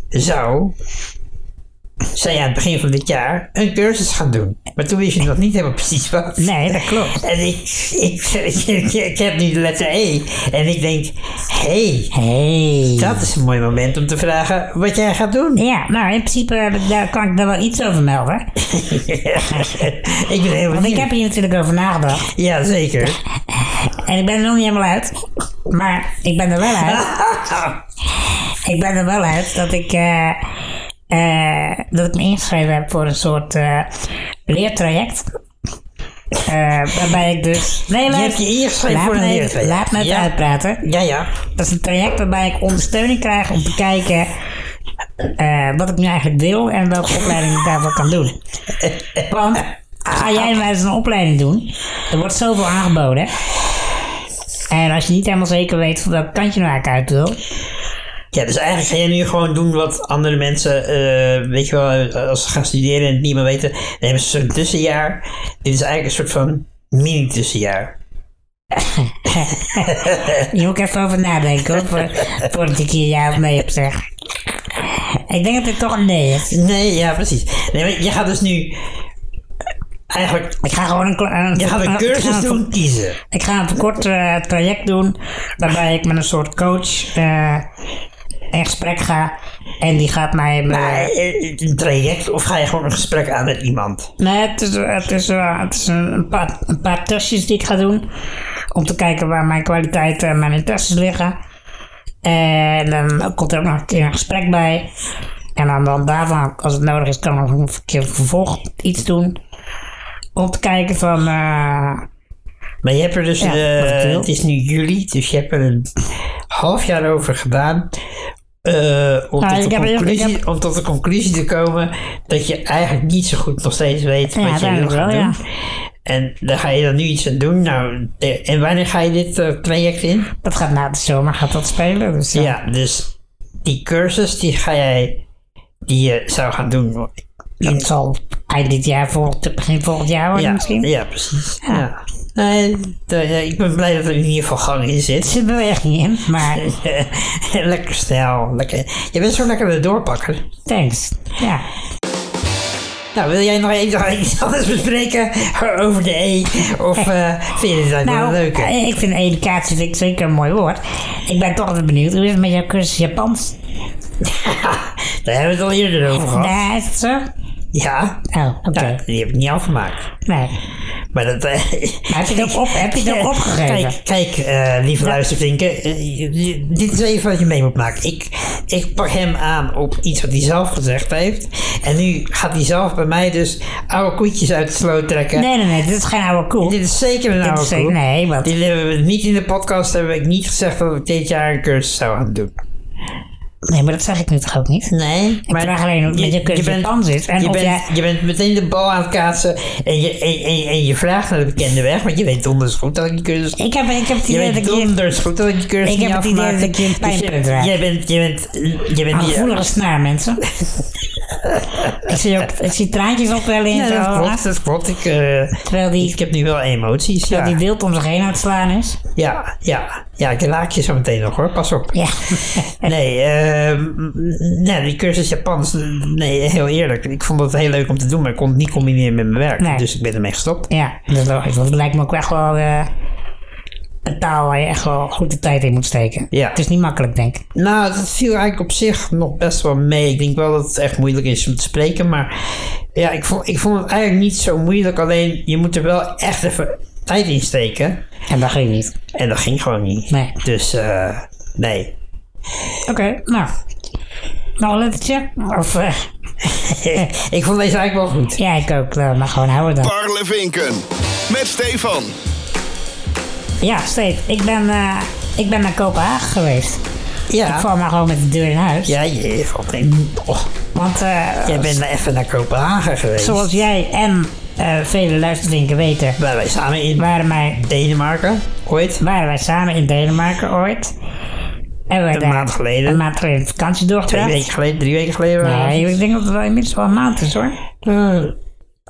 Speaker 2: zou, zei je aan het begin van dit jaar, een cursus gaan doen. Maar toen wist je nog niet helemaal precies wat.
Speaker 1: Nee, dat klopt.
Speaker 2: [LAUGHS] En ik, ik, ik, ik, ik heb nu de letter E. En ik denk, hey,
Speaker 1: Hey.
Speaker 2: dat is een mooi moment om te vragen wat jij gaat doen.
Speaker 1: Ja, nou in principe eh, daar kan ik daar wel iets over melden.
Speaker 2: ik ben heel
Speaker 1: Want ik
Speaker 2: benieuwd.
Speaker 1: heb hier natuurlijk over nagedacht.
Speaker 2: Ja, zeker.
Speaker 1: En ik ben er nog niet helemaal uit. Maar ik ben er wel
Speaker 2: [LAUGHS]
Speaker 1: uit. ik ben er wel uit dat ik, eh, eh, dat ik me ingeschreven heb voor een soort eh, leertraject. Eh, waarbij ik dus. Nee,
Speaker 2: Je hebt je ingeschreven
Speaker 1: laat
Speaker 2: voor een
Speaker 1: me even-
Speaker 2: leertraject.
Speaker 1: Laat me even
Speaker 2: Ja.
Speaker 1: uitpraten.
Speaker 2: Ja, ja.
Speaker 1: Dat is een traject waarbij ik ondersteuning krijg om te kijken eh, wat ik nu eigenlijk wil en welke opleiding ik daarvoor kan doen. Want ga jij maar eens een opleiding doen, er wordt zoveel aangeboden. En als je niet helemaal zeker weet van welk kant je nou eigenlijk uit wil,
Speaker 2: Ja, dus eigenlijk ga jij nu gewoon doen wat andere mensen, eh, weet je wel, eh, als ze gaan studeren en het niet meer weten, dan hebben ze zo'n tussenjaar. Dit is eigenlijk een soort van mini-tussenjaar.
Speaker 1: je moet ik even over nadenken hoor, voor- voordat ik hier ja of nee op zeg. Ik denk dat het toch een nee is.
Speaker 2: Nee, ja, precies. Nee, maar je gaat dus nu eigenlijk,
Speaker 1: Ik ga gewoon een, kla- een,
Speaker 2: je gaat een
Speaker 1: ik ga
Speaker 2: cursus
Speaker 1: een-
Speaker 2: doen kiezen.
Speaker 1: Ik ga een kort eh, traject doen waarbij ik met een soort coach eh, in gesprek ga. En die gaat mij... me-
Speaker 2: Maar, eh, een traject of ga je gewoon een gesprek aan met iemand?
Speaker 1: Nee, het is, het is, eh, het is een, een paar, een paar testjes die ik ga doen. Om te kijken waar mijn kwaliteiten en mijn interesses liggen. En dan komt er ook nog een keer een gesprek bij. En aan de hand daarvan, als het nodig is, kan ik nog een keer vervolg iets doen. Om te kijken van... eh,
Speaker 2: Maar je hebt er dus,
Speaker 1: Ja,
Speaker 2: eh,
Speaker 1: wat ik wil.
Speaker 2: het is nu juli, dus je hebt er een half jaar over gedaan eh, om,
Speaker 1: Nou,
Speaker 2: tot
Speaker 1: ik
Speaker 2: de
Speaker 1: heb- ik
Speaker 2: conclusie,
Speaker 1: heb-
Speaker 2: om tot de conclusie te komen dat je eigenlijk niet zo goed nog steeds
Speaker 1: Ja,
Speaker 2: weet wat je wil
Speaker 1: uiteindelijk
Speaker 2: gaan
Speaker 1: wel,
Speaker 2: doen.
Speaker 1: ja.
Speaker 2: En daar ga je dan nu iets aan doen. Nou, de- en wanneer ga je dit eh, traject in?
Speaker 1: dat gaat na de zomer gaat dat spelen. Dus
Speaker 2: Ja.
Speaker 1: ja.
Speaker 2: dus die cursus die ga jij, die je zou gaan doen.
Speaker 1: dat zal eind dit jaar, volgend, begin volgend jaar worden
Speaker 2: Ja,
Speaker 1: misschien.
Speaker 2: ja precies. Ja. Nee, de- ik ben blij dat er in ieder geval gang in zit.
Speaker 1: Er zit beweging in,
Speaker 2: [LAUGHS]
Speaker 1: maar
Speaker 2: lekker snel. Lekker. Je bent zo lekker de doorpakker.
Speaker 1: thanks. Ja.
Speaker 2: Nou, wil jij nog even [LAUGHS] iets anders bespreken over de E? Of eh, vind je dit eigenlijk wel
Speaker 1: Nou,
Speaker 2: leuk?
Speaker 1: eh, ik vind educatie vind ik zeker een mooi woord. Ik ben toch altijd benieuwd, hoe is het met jouw cursus Japans?
Speaker 2: Daar hebben we het al eerder over gehad.
Speaker 1: Daar is het zo?
Speaker 2: Ja,
Speaker 1: Oh, oké.
Speaker 2: nou, die heb ik niet afgemaakt.
Speaker 1: Nee.
Speaker 2: Maar dat... eh,
Speaker 1: Maar heb je
Speaker 2: [LAUGHS]
Speaker 1: het ook, op, heb je het ook opgegeven?
Speaker 2: Kijk, kijk eh, lieve luistervinken, eh, je- je- dit is even wat je mee moet maken. Ik, ik pak hem aan op iets wat hij zelf gezegd heeft. En nu gaat hij zelf bij mij dus oude koetjes uit de sloot trekken.
Speaker 1: Nee, nee, nee, dit is geen oude koel.
Speaker 2: Dit is zeker een oude
Speaker 1: is zeker-
Speaker 2: koek.
Speaker 1: nee, want-
Speaker 2: Dit hebben we niet in de podcast, hebben we niet gezegd dat ik dit jaar een cursus zou gaan doen.
Speaker 1: Nee, maar dat zeg ik nu toch ook niet?
Speaker 2: Nee,
Speaker 1: Ik vraag alleen hoe het met je cursus Japans is. En
Speaker 2: je,
Speaker 1: of
Speaker 2: bent,
Speaker 1: jij-
Speaker 2: je bent meteen de bal aan het kaatsen en je, en, en, en je vraagt naar de bekende weg, want je weet donders goed dat ik die cursus...
Speaker 1: Ik heb, ik heb het
Speaker 2: je
Speaker 1: idee dat
Speaker 2: weet
Speaker 1: ik hier
Speaker 2: donders goed dat ik die cursus
Speaker 1: Ik
Speaker 2: niet
Speaker 1: heb het idee
Speaker 2: afmaakte.
Speaker 1: dat ik je een Ah,
Speaker 2: Dus
Speaker 1: pijnpunt
Speaker 2: je-
Speaker 1: raak.
Speaker 2: Jij bent, je bent, je bent
Speaker 1: een
Speaker 2: niet-
Speaker 1: gevoelige snaar,
Speaker 2: [LAUGHS]
Speaker 1: mensen. ik, zie ook, ik zie traantjes opwellen in
Speaker 2: Ja,
Speaker 1: zijn
Speaker 2: dat
Speaker 1: ogen,
Speaker 2: klopt, dat klopt. Ik, eh,
Speaker 1: Terwijl die,
Speaker 2: ik heb nu wel emoties,
Speaker 1: terwijl
Speaker 2: ja.
Speaker 1: die wild om zich heen aan het slaan is.
Speaker 2: Ja, ja, ja, ik laak je zo meteen nog hoor, pas op. [LAUGHS]
Speaker 1: Ja.
Speaker 2: Nee, eh, m, nee, die cursus Japans, nee, heel eerlijk. Ik vond het heel leuk om te doen, maar ik kon het niet combineren met mijn werk.
Speaker 1: Nee.
Speaker 2: Dus ik ben ermee gestopt.
Speaker 1: ja, dat is logisch. Want het lijkt me ook echt wel eh, een taal waar je echt wel goed de tijd in moet steken.
Speaker 2: Ja.
Speaker 1: Het is niet makkelijk, denk ik.
Speaker 2: Nou, dat viel eigenlijk op zich nog best wel mee. Ik denk wel dat het echt moeilijk is om te spreken, maar ja, ik vond, ik vond het eigenlijk niet zo moeilijk. Alleen, je moet er wel echt even tijd in steken.
Speaker 1: En dat ging niet.
Speaker 2: En dat ging gewoon niet.
Speaker 1: Nee.
Speaker 2: Dus, eh, nee.
Speaker 1: Oké, nou. Nog een lettertje? Of, eh,
Speaker 2: ik vond deze eigenlijk wel goed.
Speaker 1: ja, ik ook. eh, maar gewoon houden dan.
Speaker 4: Parlevinken. Met Stefan.
Speaker 1: Ja, Steve, ik ben, eh, ik ben naar Kopenhagen geweest.
Speaker 2: Ja.
Speaker 1: Ik val maar gewoon met de deur in huis.
Speaker 2: Ja, je valt in. Oh,
Speaker 1: Want eh,
Speaker 2: jij bent even naar Kopenhagen geweest.
Speaker 1: Zoals jij en eh, vele luistervinken weten,
Speaker 2: Waar wij samen in
Speaker 1: waren wij,
Speaker 2: Denemarken ooit.
Speaker 1: waren wij samen in Denemarken ooit. En wij
Speaker 2: Een
Speaker 1: daar
Speaker 2: maand geleden.
Speaker 1: Een maand geleden vakantie
Speaker 2: Twee
Speaker 1: doorgebracht.
Speaker 2: weken geleden, drie weken geleden. waren
Speaker 1: Nee,
Speaker 2: we-
Speaker 1: ik denk dat het wel inmiddels wel een maand is hoor.
Speaker 2: Eh,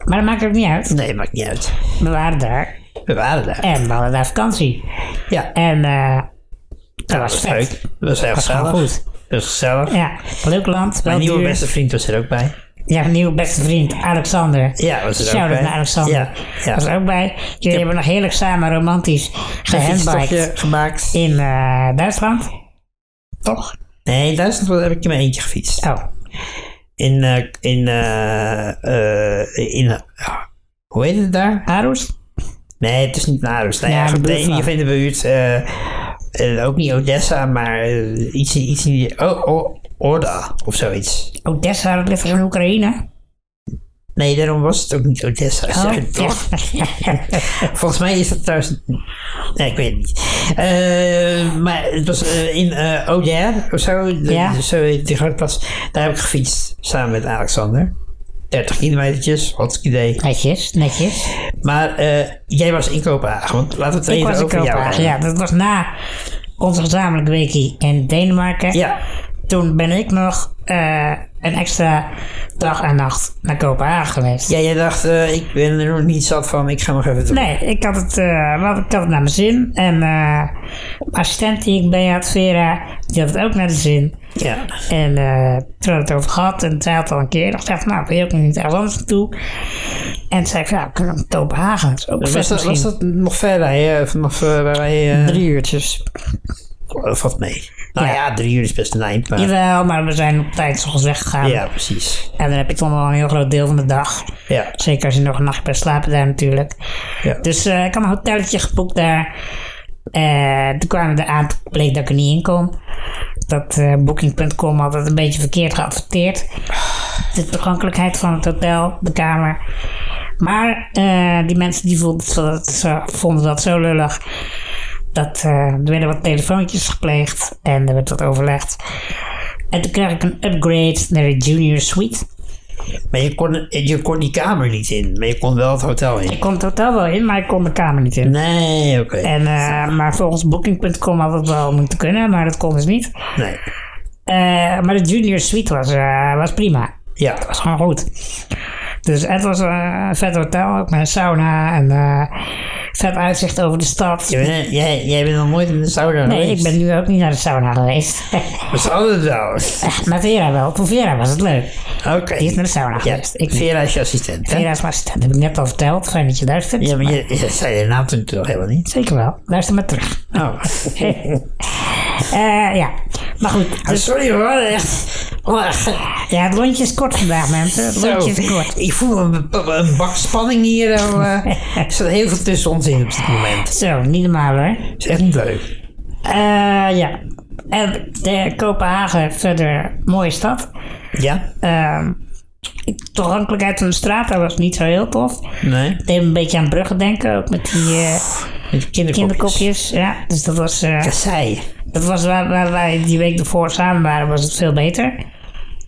Speaker 1: Maar dat maakt ook niet uit.
Speaker 2: nee, maakt niet uit.
Speaker 1: We waren daar
Speaker 2: We waren daar.
Speaker 1: en we hadden daar vakantie.
Speaker 2: Ja,
Speaker 1: En eh dat was
Speaker 2: dat was
Speaker 1: vet.
Speaker 2: leuk. Dat was heel
Speaker 1: was gewoon
Speaker 2: gezellig.
Speaker 1: goed.
Speaker 2: Dat was gezellig.
Speaker 1: Ja, leuk land. Wel
Speaker 2: Mijn nieuwe
Speaker 1: duur.
Speaker 2: beste vriend was er ook bij.
Speaker 1: Ja, mijn nieuwe beste vriend, Alexander.
Speaker 2: Ja, was er ook
Speaker 1: Shout-out
Speaker 2: bij.
Speaker 1: naar Alexander.
Speaker 2: Ja, ja.
Speaker 1: Was er ook bij. Jullie hebben nog heerlijk samen romantisch gehandbiked.
Speaker 2: Fietstopje gemaakt.
Speaker 1: in eh, Duitsland. Toch?
Speaker 2: Nee, in Duitsland heb ik in mijn eentje gefietst.
Speaker 1: Oh,
Speaker 2: In, eh, in, eh, eh, in, ah, hoe heet het daar?
Speaker 1: Aarhus?
Speaker 2: Nee, het is niet Narus. Nou
Speaker 1: Ja,
Speaker 2: ja,
Speaker 1: de
Speaker 2: goed,
Speaker 1: buurt
Speaker 2: nee, in
Speaker 1: van.
Speaker 2: ieder geval in de buurt. eh, eh, ook niet Odessa, maar eh, iets, in- iets in die... Oh, oh, Orda of zoiets.
Speaker 1: Odessa, Oh, dat ligt toch in Oekraïne?
Speaker 2: Nee, daarom was het ook niet Odessa.
Speaker 1: Oh.
Speaker 2: Ja, toch? Volgens mij is dat trouwens... Nee, ik weet het niet. Eh, maar het was eh, in eh Auderre of zo. de-
Speaker 1: Ja.
Speaker 2: Zo heet die grote plaats. Daar heb ik gefietst samen met Alexander. 30 kilometertjes, wat een idee.
Speaker 1: [LAUGHS] netjes, netjes.
Speaker 2: Maar eh, jij was in Kopenhagen, want laten we het
Speaker 1: Ik
Speaker 2: even
Speaker 1: was in
Speaker 2: over jou
Speaker 1: Kopenhagen.
Speaker 2: hebben.
Speaker 1: Ja, dat was na onze gezamenlijke weekie in Denemarken.
Speaker 2: Ja.
Speaker 1: Toen ben ik nog eh, een extra dag en nacht naar Kopenhagen geweest.
Speaker 2: Ja, jij dacht, eh, ik ben er nog niet zat van, ik ga nog even doen.
Speaker 1: Nee, ik had het, eh, wat, ik had het naar mijn zin. En eh assistent die ik bij had, Vera, die had het ook naar de zin.
Speaker 2: Ja.
Speaker 1: En eh, toen hadden we het over gehad en zij had al een keer gezegd, nou wil je ook nog niet ergens anders naartoe? En toen zei ik, ja, kunnen we naar Kopenhagen, dat is ook
Speaker 2: Was
Speaker 1: vet
Speaker 2: dat,
Speaker 1: misschien.
Speaker 2: was dat nog verder, hè? Vanaf eh, waar wij... eh
Speaker 1: Drie uurtjes.
Speaker 2: of wat mee? Nou ja. drie uur is best een eind, maar...
Speaker 1: Jawel, maar we zijn op tijd zoals weggegaan.
Speaker 2: Ja, precies.
Speaker 1: En dan heb ik toch nog wel een heel groot deel van de dag.
Speaker 2: Ja.
Speaker 1: Zeker als je nog een nacht bent slapen daar natuurlijk.
Speaker 2: Ja.
Speaker 1: Dus eh, ik had een hotelletje geboekt daar. Eh, toen kwamen we eraan, toen bleek dat ik er niet in kon. dat eh, Booking.com had het een beetje verkeerd geadverteerd. De toegankelijkheid van het hotel, de kamer. Maar eh, die mensen die voelden, dat- ze vonden dat zo lullig. Dat, eh, er werden wat telefoontjes gepleegd en er werd wat overlegd. En toen kreeg ik een upgrade naar de junior suite.
Speaker 2: Maar je kon, je kon die kamer niet in, maar je kon wel het hotel in.
Speaker 1: Ik kon het hotel wel in, maar ik kon de kamer niet in.
Speaker 2: Nee, oké.
Speaker 1: En, eh, maar volgens Booking.com had het wel moeten kunnen, maar dat kon dus niet.
Speaker 2: Nee.
Speaker 1: Eh, maar de junior suite was, eh, was prima.
Speaker 2: Ja.
Speaker 1: was gewoon goed. Dus het was eh, een vet hotel, ook met een sauna en eh, vet uitzicht over de stad.
Speaker 2: Je bent- jij, jij bent nog nooit in de sauna
Speaker 1: Nee, ik
Speaker 2: geweest.
Speaker 1: ben nu ook niet naar de sauna geweest. [LAUGHS]
Speaker 2: We zouden wel.
Speaker 1: maar Vera wel. Voor Vera was het leuk.
Speaker 2: Oké.
Speaker 1: Die is naar de sauna geweest.
Speaker 2: Ja,
Speaker 1: Ik vind
Speaker 2: Vera is je assistent, hè?
Speaker 1: Vera is mijn assistent. Dat heb ik net al verteld. Fijn dat je luistert.
Speaker 2: Ja, maar je, je zei de naam toen toch helemaal niet?
Speaker 1: Zeker wel. Luister maar terug. [LAUGHS]
Speaker 2: Oh.
Speaker 1: Eh, ja, maar goed.
Speaker 2: Ah, sorry hoor, echt.
Speaker 1: Ja, het lontje is kort vandaag, mensen. Het
Speaker 2: Zo,
Speaker 1: lontje is kort.
Speaker 2: ik voel een, een bak spanning hier. al, eh.
Speaker 1: [LAUGHS]
Speaker 2: er staat heel veel tussen ons in op dit moment.
Speaker 1: Zo, niet normaal hoor.
Speaker 2: Het is echt niet leuk.
Speaker 1: Eh, ja. En de Kopenhagen verder mooie stad.
Speaker 2: Ja?
Speaker 1: Ehm, toegankelijkheid van de straat, dat was niet zo heel tof.
Speaker 2: Nee?
Speaker 1: Deed me een beetje aan bruggen denken, ook met die eh,
Speaker 2: Met kinderkopjes.
Speaker 1: kinderkopjes. Ja, dus dat was, eh,
Speaker 2: Kassei.
Speaker 1: dat was waar, waar wij die week ervoor samen waren, was het veel beter.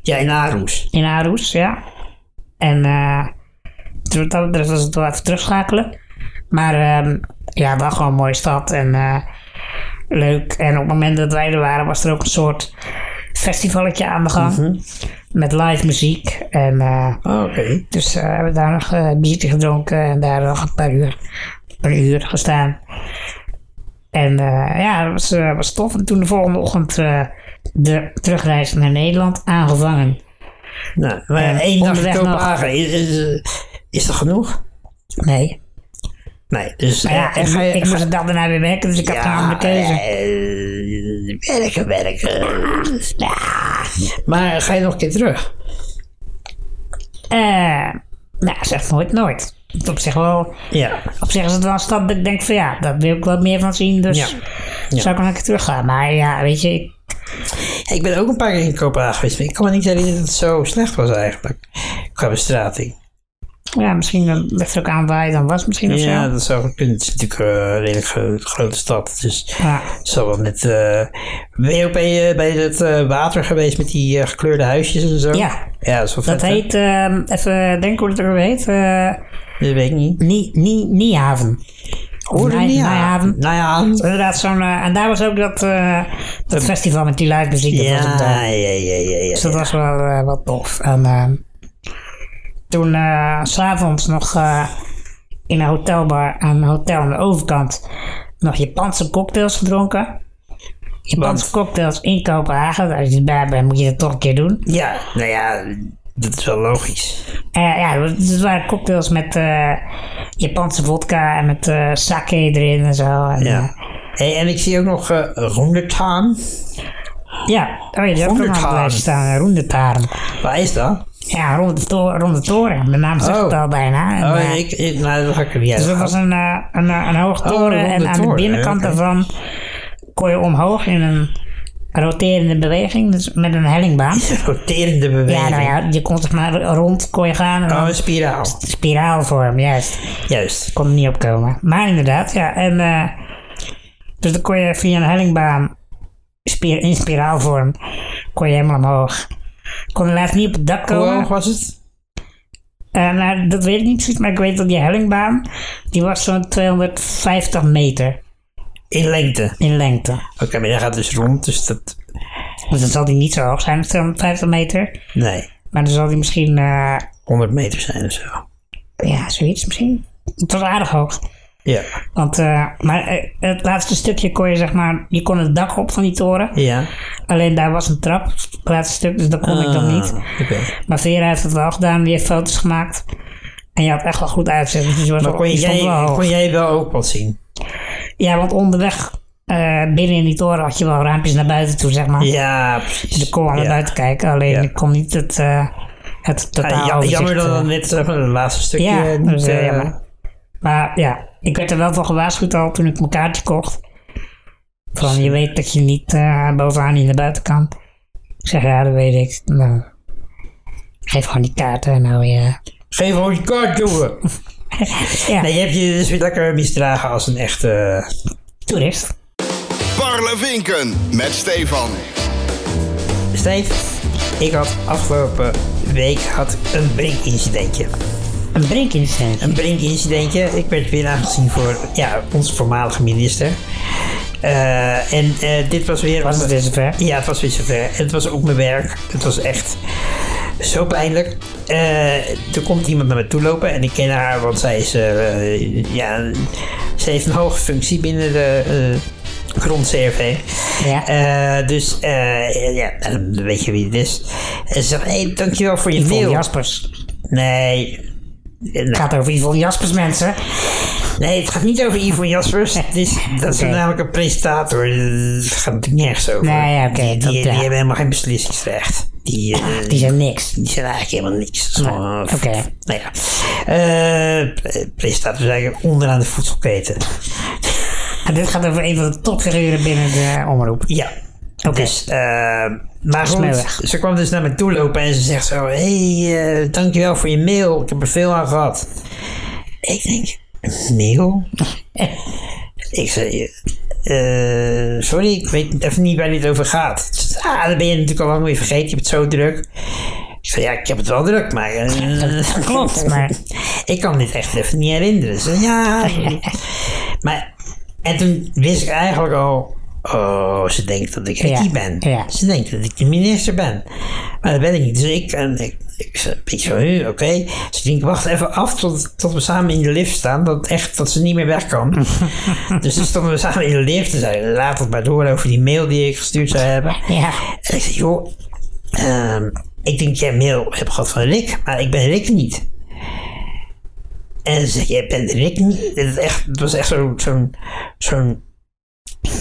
Speaker 2: Ja, in Aarhus.
Speaker 1: In Aarhus, ja. En eh dus wat dat betreft was het wel even terugschakelen. Maar ehm, ja, wel gewoon een mooie stad en eh, leuk. En op het moment dat wij er waren, was er ook een soort festivalletje aan de gang. Met live muziek. En, eh,
Speaker 2: Oh, Oké.
Speaker 1: dus eh, hebben we daar nog eh biertje gedronken en daar nog een paar uur, een uur gestaan. En eh, ja, dat was, eh, was tof. En toen de volgende ochtend eh, de terugreis naar Nederland aangevangen.
Speaker 2: Nou, maar
Speaker 1: Eh,
Speaker 2: één dag in
Speaker 1: onderweg
Speaker 2: Kopenhagen, is, is, is dat genoeg?
Speaker 1: Nee.
Speaker 2: Nee, dus
Speaker 1: Maar ja,
Speaker 2: eh, ga je-
Speaker 1: ik moest het dag daarna weer werken, dus ik had geen andere keuze.
Speaker 2: eh, werken, werken. Ja. Maar ga je nog een keer terug?
Speaker 1: Eh, nou, zeg nooit nooit. Want Op zich, wel,
Speaker 2: Ja.
Speaker 1: op zich is het wel een stad dat ik denk van ja, daar wil ik wat meer van zien, dus
Speaker 2: Ja.
Speaker 1: zou ik nog een keer teruggaan. Maar ja, weet je, ik-
Speaker 2: Ik ben ook een paar keer in Kopenhagen geweest, maar ik kan me niet herinneren dat het zo slecht was eigenlijk. Qua bestrating.
Speaker 1: ja, misschien dan ligt het ook aan waar je dan was misschien of zo.
Speaker 2: Ja, dat zou kunnen. Het is natuurlijk eh, een redelijk gro- grote stad, dus
Speaker 1: Ja.
Speaker 2: het zal wel met... eh, ben je ook bij, eh, bij dat eh, water geweest met die eh, gekleurde huisjes en zo?
Speaker 1: Ja.
Speaker 2: Ja, dat is wel
Speaker 1: Dat
Speaker 2: vet, hè?
Speaker 1: heet, ehm, even denken hoe het ook weer heet, eh,
Speaker 2: Dat weet ik niet.
Speaker 1: Nie- Nie- Niehaven. Of
Speaker 2: Hoorde
Speaker 1: Nij-
Speaker 2: niet aan.
Speaker 1: Nijhaven.
Speaker 2: Nou ja,
Speaker 1: Inderdaad, zo'n, eh, en daar was ook dat, eh, dat festival met die live muziek. dat was op, eh,
Speaker 2: Ja, ja, ja, ja. ja,
Speaker 1: Dus dat was wel eh, wat tof. En ehm, toen eh, s s'avonds nog eh, in een hotelbar aan een hotel aan de overkant nog Japanse cocktails gedronken. Japanse cocktails in Kopenhagen. Als je erbij bent moet je dat toch een keer doen.
Speaker 2: Ja, nou ja, dat is wel logisch.
Speaker 1: Eh, ja, het waren cocktails met eh, Japanse vodka en met eh, sake erin en zo. En,
Speaker 2: Ja.
Speaker 1: eh,
Speaker 2: Hey, en ik zie ook nog eh Rondertaan.
Speaker 1: ja. Oh, je hebt ook nog op het
Speaker 2: Rondetaren.
Speaker 1: lijstje staan. Rondetaren.
Speaker 2: Waar is dat?
Speaker 1: Ja, Ronde to- Ronde Toren. De naam zegt
Speaker 2: Oh.
Speaker 1: het al bijna. En,
Speaker 2: Oh,
Speaker 1: eh,
Speaker 2: ik, ik, nou, dat ga ik er niet uit.
Speaker 1: Dus dat was een, eh, een, eh, een hoog
Speaker 2: Oh,
Speaker 1: toren
Speaker 2: een ronde
Speaker 1: en aan de
Speaker 2: toren,
Speaker 1: binnenkant
Speaker 2: oké.
Speaker 1: daarvan kon je omhoog in een roterende beweging, dus met een
Speaker 2: [LAUGHS]
Speaker 1: hellingbaan.
Speaker 2: roterende beweging.
Speaker 1: Ja, nou ja, je kon zeg maar rond kon je gaan en dan
Speaker 2: Oh, een spiraal.
Speaker 1: spiraalvorm, juist.
Speaker 2: Juist.
Speaker 1: Kon er niet op komen. Maar inderdaad, ja. En, eh, dus dan kon je via een hellingbaan spier, in spiraalvorm kon je helemaal omhoog. Kon helaas niet op het dak
Speaker 2: Hoe
Speaker 1: komen.
Speaker 2: hoog was het?
Speaker 1: Eh, nou, dat weet ik niet precies, maar ik weet dat die hellingbaan, die was zo'n 250 meter.
Speaker 2: In lengte.
Speaker 1: in lengte.
Speaker 2: Oké, maar dat gaat dus rond, dus dat...
Speaker 1: Dus dan zal die niet zo hoog zijn, 250 meter.
Speaker 2: Nee,
Speaker 1: Maar dan zal die misschien, eh,
Speaker 2: 100 meter zijn of zo.
Speaker 1: ja, zoiets misschien. Het was aardig hoog.
Speaker 2: Ja.
Speaker 1: Want, eh, maar eh, het laatste stukje kon je zeg maar, je kon het dak op van die toren.
Speaker 2: Ja.
Speaker 1: Alleen daar was een trap, het laatste stuk, dus dat kon ik dan niet.
Speaker 2: Ah, Oké.
Speaker 1: Maar Vera heeft het wel gedaan, die heeft foto's gemaakt. En je had echt wel goed uitzicht, dus je was
Speaker 2: Maar
Speaker 1: wel-
Speaker 2: kon
Speaker 1: je stond
Speaker 2: jij,
Speaker 1: wel hoog.
Speaker 2: kon jij wel ook wat zien?
Speaker 1: Ja, want onderweg, eh, binnen in die toren had je wel raampjes naar buiten toe, zeg maar.
Speaker 2: Ja, precies.
Speaker 1: Dus ik kon wel naar
Speaker 2: Ja.
Speaker 1: buiten kijken, alleen
Speaker 2: Ja.
Speaker 1: ik kon niet het, eh, het
Speaker 2: Ah,
Speaker 1: totaal
Speaker 2: ja-
Speaker 1: overzicht,
Speaker 2: jammer dat
Speaker 1: eh,
Speaker 2: dan net zeg maar, het laatste stukje
Speaker 1: Ja,
Speaker 2: eh,
Speaker 1: dat is
Speaker 2: niet...
Speaker 1: heel
Speaker 2: eh,
Speaker 1: jammer. Maar ja, ik werd er wel van gewaarschuwd al toen ik mijn kaartje kocht. Van je weet dat je niet eh, bovenaan niet naar buiten kan. Ik zeg ja, dat weet ik. Nou, geef gewoon die kaarten en nou je. [LAUGHS]
Speaker 2: Geef gewoon je kaart, jongen.
Speaker 1: Ja,
Speaker 2: Nee, je hebt je dus weer lekker misdragen als een echte... eh,
Speaker 1: toerist.
Speaker 4: Parlevinken met Stefan.
Speaker 2: Steef, ik had afgelopen week had een brinkincidentje.
Speaker 1: Een brinkincident.
Speaker 2: Een brinkincidentje. Ik werd weer aangezien voor ja, onze voormalige minister. Eh, en eh, dit was weer...
Speaker 1: Was het weer zover?
Speaker 2: Ja, het was weer zover. En Het was ook mijn werk. Het was echt zo pijnlijk. Eh, er komt iemand naar me toe lopen en ik ken haar, want zij is, eh, ja, ze heeft een hoge functie binnen de eh grond-CRV.
Speaker 1: Ja.
Speaker 2: Eh, dus, eh, ja, dan weet je wie het is. En ze zegt, hey, dankjewel voor je
Speaker 1: Yvonne
Speaker 2: mail.
Speaker 1: Jaspers.
Speaker 2: Nee.
Speaker 1: Het gaat over Yvonne Jaspers, mensen.
Speaker 2: nee, het gaat niet over Ivo Jaspers. Het is, dat is
Speaker 1: Oké.
Speaker 2: namelijk een presentator. Het gaat natuurlijk nergens over.
Speaker 1: Nee, ja, oké,
Speaker 2: die, die,
Speaker 1: dat,
Speaker 2: die
Speaker 1: ja. Ah,
Speaker 2: hebben helemaal geen beslissingsrecht. Die, eh,
Speaker 1: Die zijn niks.
Speaker 2: Die zijn eigenlijk helemaal niks. Het is
Speaker 1: Nee,
Speaker 2: gewoon, eh,
Speaker 1: oké.
Speaker 2: Nou ja. Eh, presentator is eigenlijk onderaan de voedselketen.
Speaker 1: En dit gaat over een van de topfiguren binnen de omroep.
Speaker 2: Ja.
Speaker 1: Oké.
Speaker 2: Dus, eh, maar
Speaker 1: Smeuig.
Speaker 2: goed, ze kwam dus naar me toe lopen en ze zegt zo... Hé, hey, eh, dankjewel voor je mail. Ik heb er veel aan gehad. Ik denk, mail? [LAUGHS] ik zei... eh, sorry, ik weet even niet waar dit over gaat. Ze zegt, Ah, dat ben je natuurlijk al lang weer vergeten. Je hebt het zo druk. Ik zei, ja, ik heb het wel druk, maar... eh,
Speaker 1: [LAUGHS] Klopt, maar-
Speaker 2: [LAUGHS] ik kan dit echt even niet herinneren. Ze zei, ja...
Speaker 1: [LAUGHS]
Speaker 2: maar... En toen wist ik eigenlijk al... Oh, ze denkt dat ik
Speaker 1: Ja,
Speaker 2: die ben.
Speaker 1: ja.
Speaker 2: Ze denkt dat ik de minister ben. Maar dat ben ik niet. Dus ik, en ik, ik zei, een beetje zo, "Huh, oké. Dus ik denk, wacht even af tot, tot we samen in de lift staan. Dat, echt, dat ze niet meer weg
Speaker 1: [LAUGHS]
Speaker 2: kan. dus toen stonden we samen in de lift. En zeiden, laat het maar door over die mail die ik gestuurd zou hebben.
Speaker 1: Ja.
Speaker 2: En ik zei, joh, ehm, ik denk dat jij mail hebt gehad van Rick, maar ik ben Rick niet. En ze zegt, jij bent Rick niet? Het, is echt, het was echt zo'n... zo'n zo'n-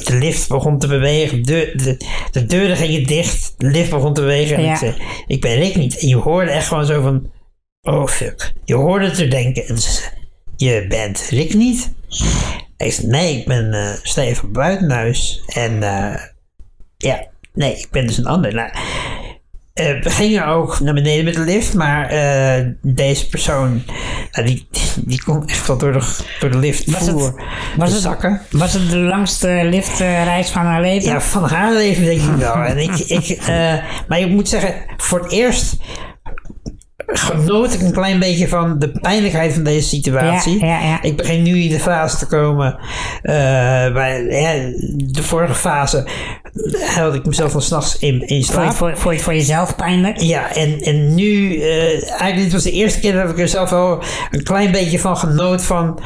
Speaker 2: de lift begon te bewegen, de, de, de deuren gingen dicht, de lift begon te bewegen. En
Speaker 1: Ja.
Speaker 2: ik zei, ik ben Rick niet. En je hoorde echt gewoon zo van, oh fuck. Je hoorde het er denken. En ze zei, je bent Rick niet? Ik zei, nee, ik ben eh Steven Buitenhuis. En eh, ja, nee, ik ben dus een ander. Nou, eh, we gingen ook naar beneden met de lift, maar eh, deze persoon, nou, die, die kon echt wel door de, door de lift
Speaker 1: Was
Speaker 2: voer.
Speaker 1: het, was,
Speaker 2: de
Speaker 1: het,
Speaker 2: zakken?
Speaker 1: was het de langste liftreis van haar leven?
Speaker 2: Ja, van haar leven denk ik wel. En ik, ik, eh, maar ik moet zeggen, voor het eerst genoot ik een klein beetje van de pijnlijkheid van deze situatie.
Speaker 1: Ja, ja, ja.
Speaker 2: Ik begin nu in de fase te komen. eh, waar, hè, de vorige fase eh, had ik mezelf al s'nachts in, in
Speaker 1: Vond je,
Speaker 2: slaap.
Speaker 1: vond, je- vond je het voor jezelf pijnlijk?
Speaker 2: Ja, en, en nu, eh, eigenlijk dit was de eerste keer dat ik er zelf wel een klein beetje van genoot van,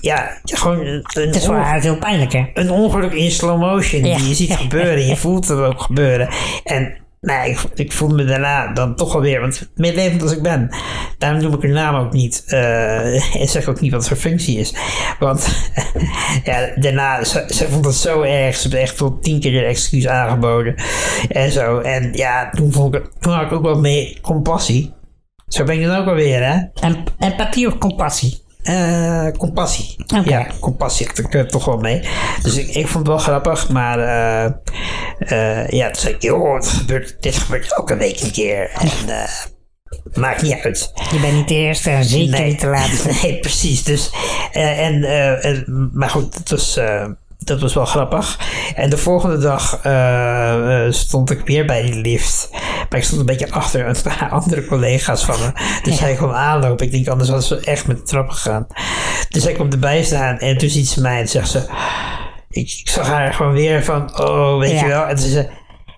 Speaker 2: ja, gewoon eh, een,
Speaker 1: Het is voor haar veel pijnlijker.
Speaker 2: een ongeluk in slow motion
Speaker 1: Ja.
Speaker 2: die je ziet gebeuren. Je voelt het ook gebeuren. En nou, ik, ik voel me daarna dan toch alweer, want meelevend als ik ben, daarom noem ik hun naam ook niet. eh, [LAUGHS] en zeg ook niet wat zijn functie is. Want [LAUGHS] ja, daarna, ze, ze vond het zo erg. Ze heeft echt tot tien keer de excuus aangeboden. En zo. En ja, toen, vond ik, het- toen had ik ook wel mee compassie. Zo ben ik dan ook alweer, hè?
Speaker 1: En, empathie of compassie?
Speaker 2: eh compassie.
Speaker 1: Oké.
Speaker 2: Ja, compassie had ik er toch wel mee. Dus ik, ik vond het wel grappig, maar eh, eh, ja, toen zei ik, joh, het gebeurt, dit gebeurt elke week een keer. En, eh, maakt niet uit.
Speaker 1: Je bent niet de eerste en zeker niet de laatste.
Speaker 2: [LAUGHS] nee, precies. Dus, eh, en, eh, en- maar goed, dat was, eh, dat was wel grappig. En de volgende dag eh, eh, stond ik weer bij die lift. Maar ik stond een beetje achter een paar [LAUGHS] andere collega's van me. Dus hij kwam aanlopen. Ik denk, anders hadden ze echt met de trap gegaan. Dus hij komt erbij staan en toen ziet ze mij en zegt ze... Ik, ik zag haar gewoon weer van, oh, weet
Speaker 1: Ja.
Speaker 2: je wel. En toen zei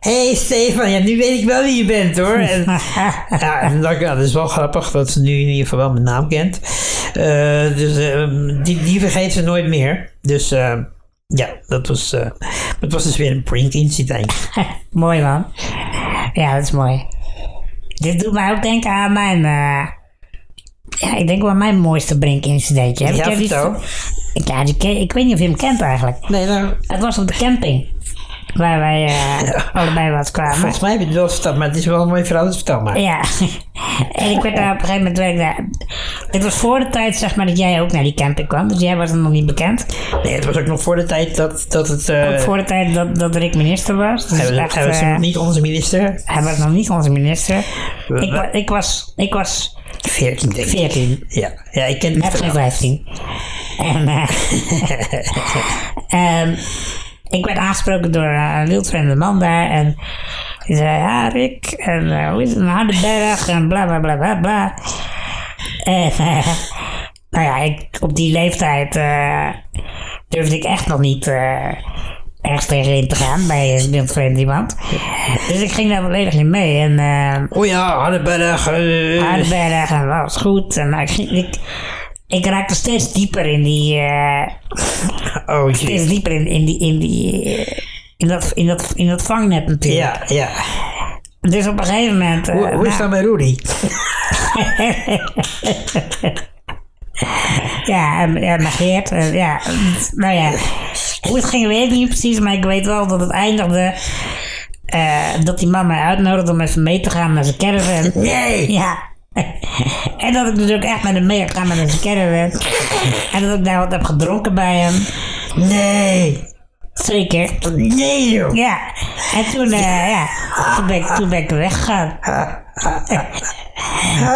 Speaker 2: hé hey Stefan, ja, nu weet ik wel wie je bent hoor.
Speaker 1: [LAUGHS]
Speaker 2: En, [LAUGHS] ja, en dat, ja, dat is wel grappig dat ze nu in ieder geval wel mijn naam kent. Eh, dus ehm, die, die vergeet ze nooit meer. Dus ehm, ja, dat was, eh, dat was dus weer een brink-incident.
Speaker 1: mooi man. Ja, dat is mooi. Dit doet mij ook denken aan mijn... eh, ja, ik denk wel aan mijn mooiste brinkincidentje. Heb
Speaker 2: Ja,
Speaker 1: jij die-
Speaker 2: vertel.
Speaker 1: Ik, ja, die ken- ik weet niet of je hem kent eigenlijk.
Speaker 2: Nee, nou,
Speaker 1: Het was op de camping. Waar wij eh, allebei wat kwamen.
Speaker 2: Volgens mij heb je het wel verteld, maar het is wel een mooie verhaal, dus vertel maar.
Speaker 1: Ja, [LAUGHS] en ik werd daar op een gegeven moment. werd ik daar- Dit was voor de tijd, zeg maar, dat jij ook naar die camping kwam. Dus jij was er nog niet bekend.
Speaker 2: Nee, het was ook nog voor de tijd dat, dat het... eh,
Speaker 1: Ook voor de tijd dat, dat Rick minister was. Dus
Speaker 2: hij was,
Speaker 1: echt,
Speaker 2: hij was
Speaker 1: eh,
Speaker 2: niet onze minister.
Speaker 1: hij was nog niet onze minister.
Speaker 2: We-
Speaker 1: Ik, wa- ik was, ik was
Speaker 2: 14, denk ik.
Speaker 1: 14.
Speaker 2: Ja, ja ik ken het
Speaker 1: Heb geen
Speaker 2: verhaal.
Speaker 1: 15. En, eh, [LAUGHS] ehm, ik werd aangesproken door eh, een wildvreemde man daar. En die zei, ja Rick, en eh, hoe is het een harde berg en bla bla bla bla bla. En eh, nou ja, ik, op die leeftijd eh, durfde ik echt nog niet eh, ergens tegenin te gaan bij een wildvreemd iemand. Dus ik ging daar volledig in mee. En eh,
Speaker 2: Oh ja, Hardenberg. eh,
Speaker 1: aardberg en was goed. En nou, ik, ging- ik, ik raakte steeds dieper in die. eh,
Speaker 2: oh
Speaker 1: steeds
Speaker 2: jee.
Speaker 1: dieper in, in die. In die eh, in dat, in, dat, in dat vangnet natuurlijk.
Speaker 2: Ja, ja.
Speaker 1: Dus op een gegeven moment... eh,
Speaker 2: Hoe, hoe is
Speaker 1: nou,
Speaker 2: dat met Rudy?
Speaker 1: Ja, en, en naar Geert. en ja, nou ja. Hoe het ging weet ik niet precies, maar ik weet wel dat het eindigde... eh, dat die man mij uitnodigde om even mee te gaan naar zijn
Speaker 2: [LAUGHS]
Speaker 1: caravan.
Speaker 2: Nee!
Speaker 1: Ja. En dat ik dus ook echt met hem mee ga met een caravan. En dat ik daar wat heb gedronken bij hem.
Speaker 2: Nee!
Speaker 1: Zeker.
Speaker 2: Nee, joh!
Speaker 1: Ja. En toen, eh, ja, toen ben ik, toen ben ik weggegaan.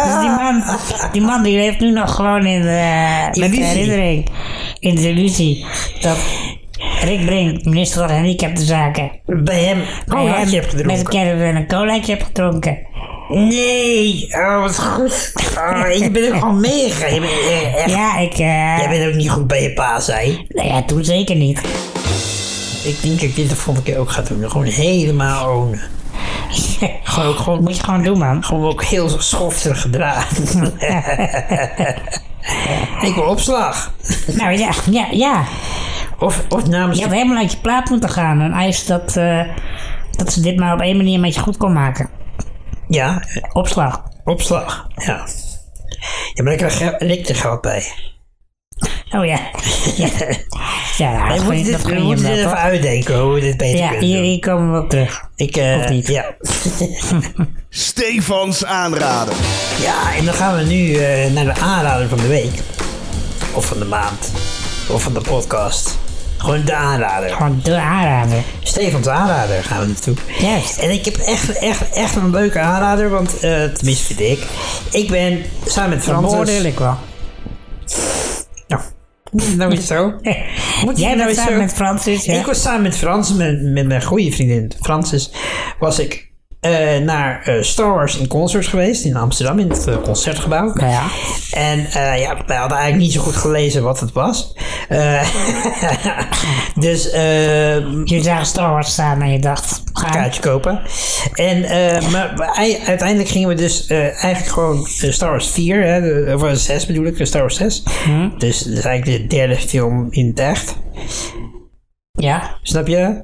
Speaker 1: Dus die man, die man die leeft nu nog gewoon in de, met de
Speaker 2: Illusie.
Speaker 1: herinnering. In de illusie. Dat Rick Brink, minister van Gehandicaptenzaken.
Speaker 2: Bij hem
Speaker 1: hem
Speaker 2: colaatje heb
Speaker 1: Oh, Met een
Speaker 2: gedronken.
Speaker 1: caravan een colaatje heb gedronken.
Speaker 2: Nee! Oh, wat goed. Oh, je bent ook gewoon meegegaan. Je bent, eh, echt-
Speaker 1: Ja, ik... eh,
Speaker 2: Jij bent ook niet goed bij je pa, zei.
Speaker 1: nou ja, toen zeker niet.
Speaker 2: Ik denk dat ik dit de volgende keer ook ga doen. Gewoon helemaal
Speaker 1: [LAUGHS]
Speaker 2: ownen. Gewoon, ook gewoon,
Speaker 1: Moet je gewoon doen, man.
Speaker 2: gewoon ook heel
Speaker 1: [LAUGHS]
Speaker 2: schoftig gedragen. ik wil opslag.
Speaker 1: Nou ja, ja, ja.
Speaker 2: Of, of namens
Speaker 1: Je had
Speaker 2: de-
Speaker 1: helemaal uit je plaat moeten gaan. Een eis dat, eh, dat ze dit maar op één manier met je goed kon maken.
Speaker 2: Ja,
Speaker 1: Opslag.
Speaker 2: opslag. Ja. Ja, maar daar krijg Rick er geld bij.
Speaker 1: Oh ja. ja,
Speaker 2: [LAUGHS]
Speaker 1: ja
Speaker 2: We
Speaker 1: dat
Speaker 2: moeten
Speaker 1: ging,
Speaker 2: dit,
Speaker 1: dat
Speaker 2: we
Speaker 1: ging je
Speaker 2: moeten
Speaker 1: wel,
Speaker 2: dit even
Speaker 1: toch?
Speaker 2: uitdenken hoe we dit beter
Speaker 1: Ja,
Speaker 2: kunnen
Speaker 1: hier,
Speaker 2: doen.
Speaker 1: hier komen we op terug.
Speaker 2: Ik, eh,
Speaker 1: Of niet?
Speaker 2: Ja. [LAUGHS]
Speaker 4: Stefans aanraden.
Speaker 2: ja, en dan gaan we nu eh, naar de aanrader van de week. Of van de maand. Of van de podcast. Gewoon de aanrader.
Speaker 1: Gewoon de aanrader.
Speaker 2: Stefans aanrader gaan we naartoe.
Speaker 1: Juist.
Speaker 2: En ik heb echt, echt, echt een leuke aanrader, want eh, tenminste vind ik. Ik ben samen met
Speaker 1: Dat
Speaker 2: Frans.
Speaker 1: beoordeel
Speaker 2: [LAUGHS]
Speaker 1: ik wel.
Speaker 2: Nou, nou is het zo. Moet je
Speaker 1: Jij
Speaker 2: nou
Speaker 1: bent
Speaker 2: eens
Speaker 1: samen
Speaker 2: zo-
Speaker 1: met Francis, ja?
Speaker 2: Ik was samen met Frans, met, met mijn goede vriendin Francis, was ik eh, naar eh, Star Wars in concert geweest in Amsterdam, in het eh, concertgebouw.
Speaker 1: Nou ja.
Speaker 2: En eh, ja, wij hadden eigenlijk niet zo goed gelezen wat het was. Eh, [LAUGHS] dus eh,
Speaker 1: Je zag Star Wars staan en je dacht, "Ah, ga.
Speaker 2: kaartje kopen. En, eh, maar we- ei- uiteindelijk gingen we dus eh, eigenlijk gewoon eh, Star Wars 4, hè, de- of eh, 6 bedoel ik, eh, Star Wars 6.
Speaker 1: Mhm.
Speaker 2: Dus dat is eigenlijk de derde film in het echt.
Speaker 1: Ja.
Speaker 2: Snap je?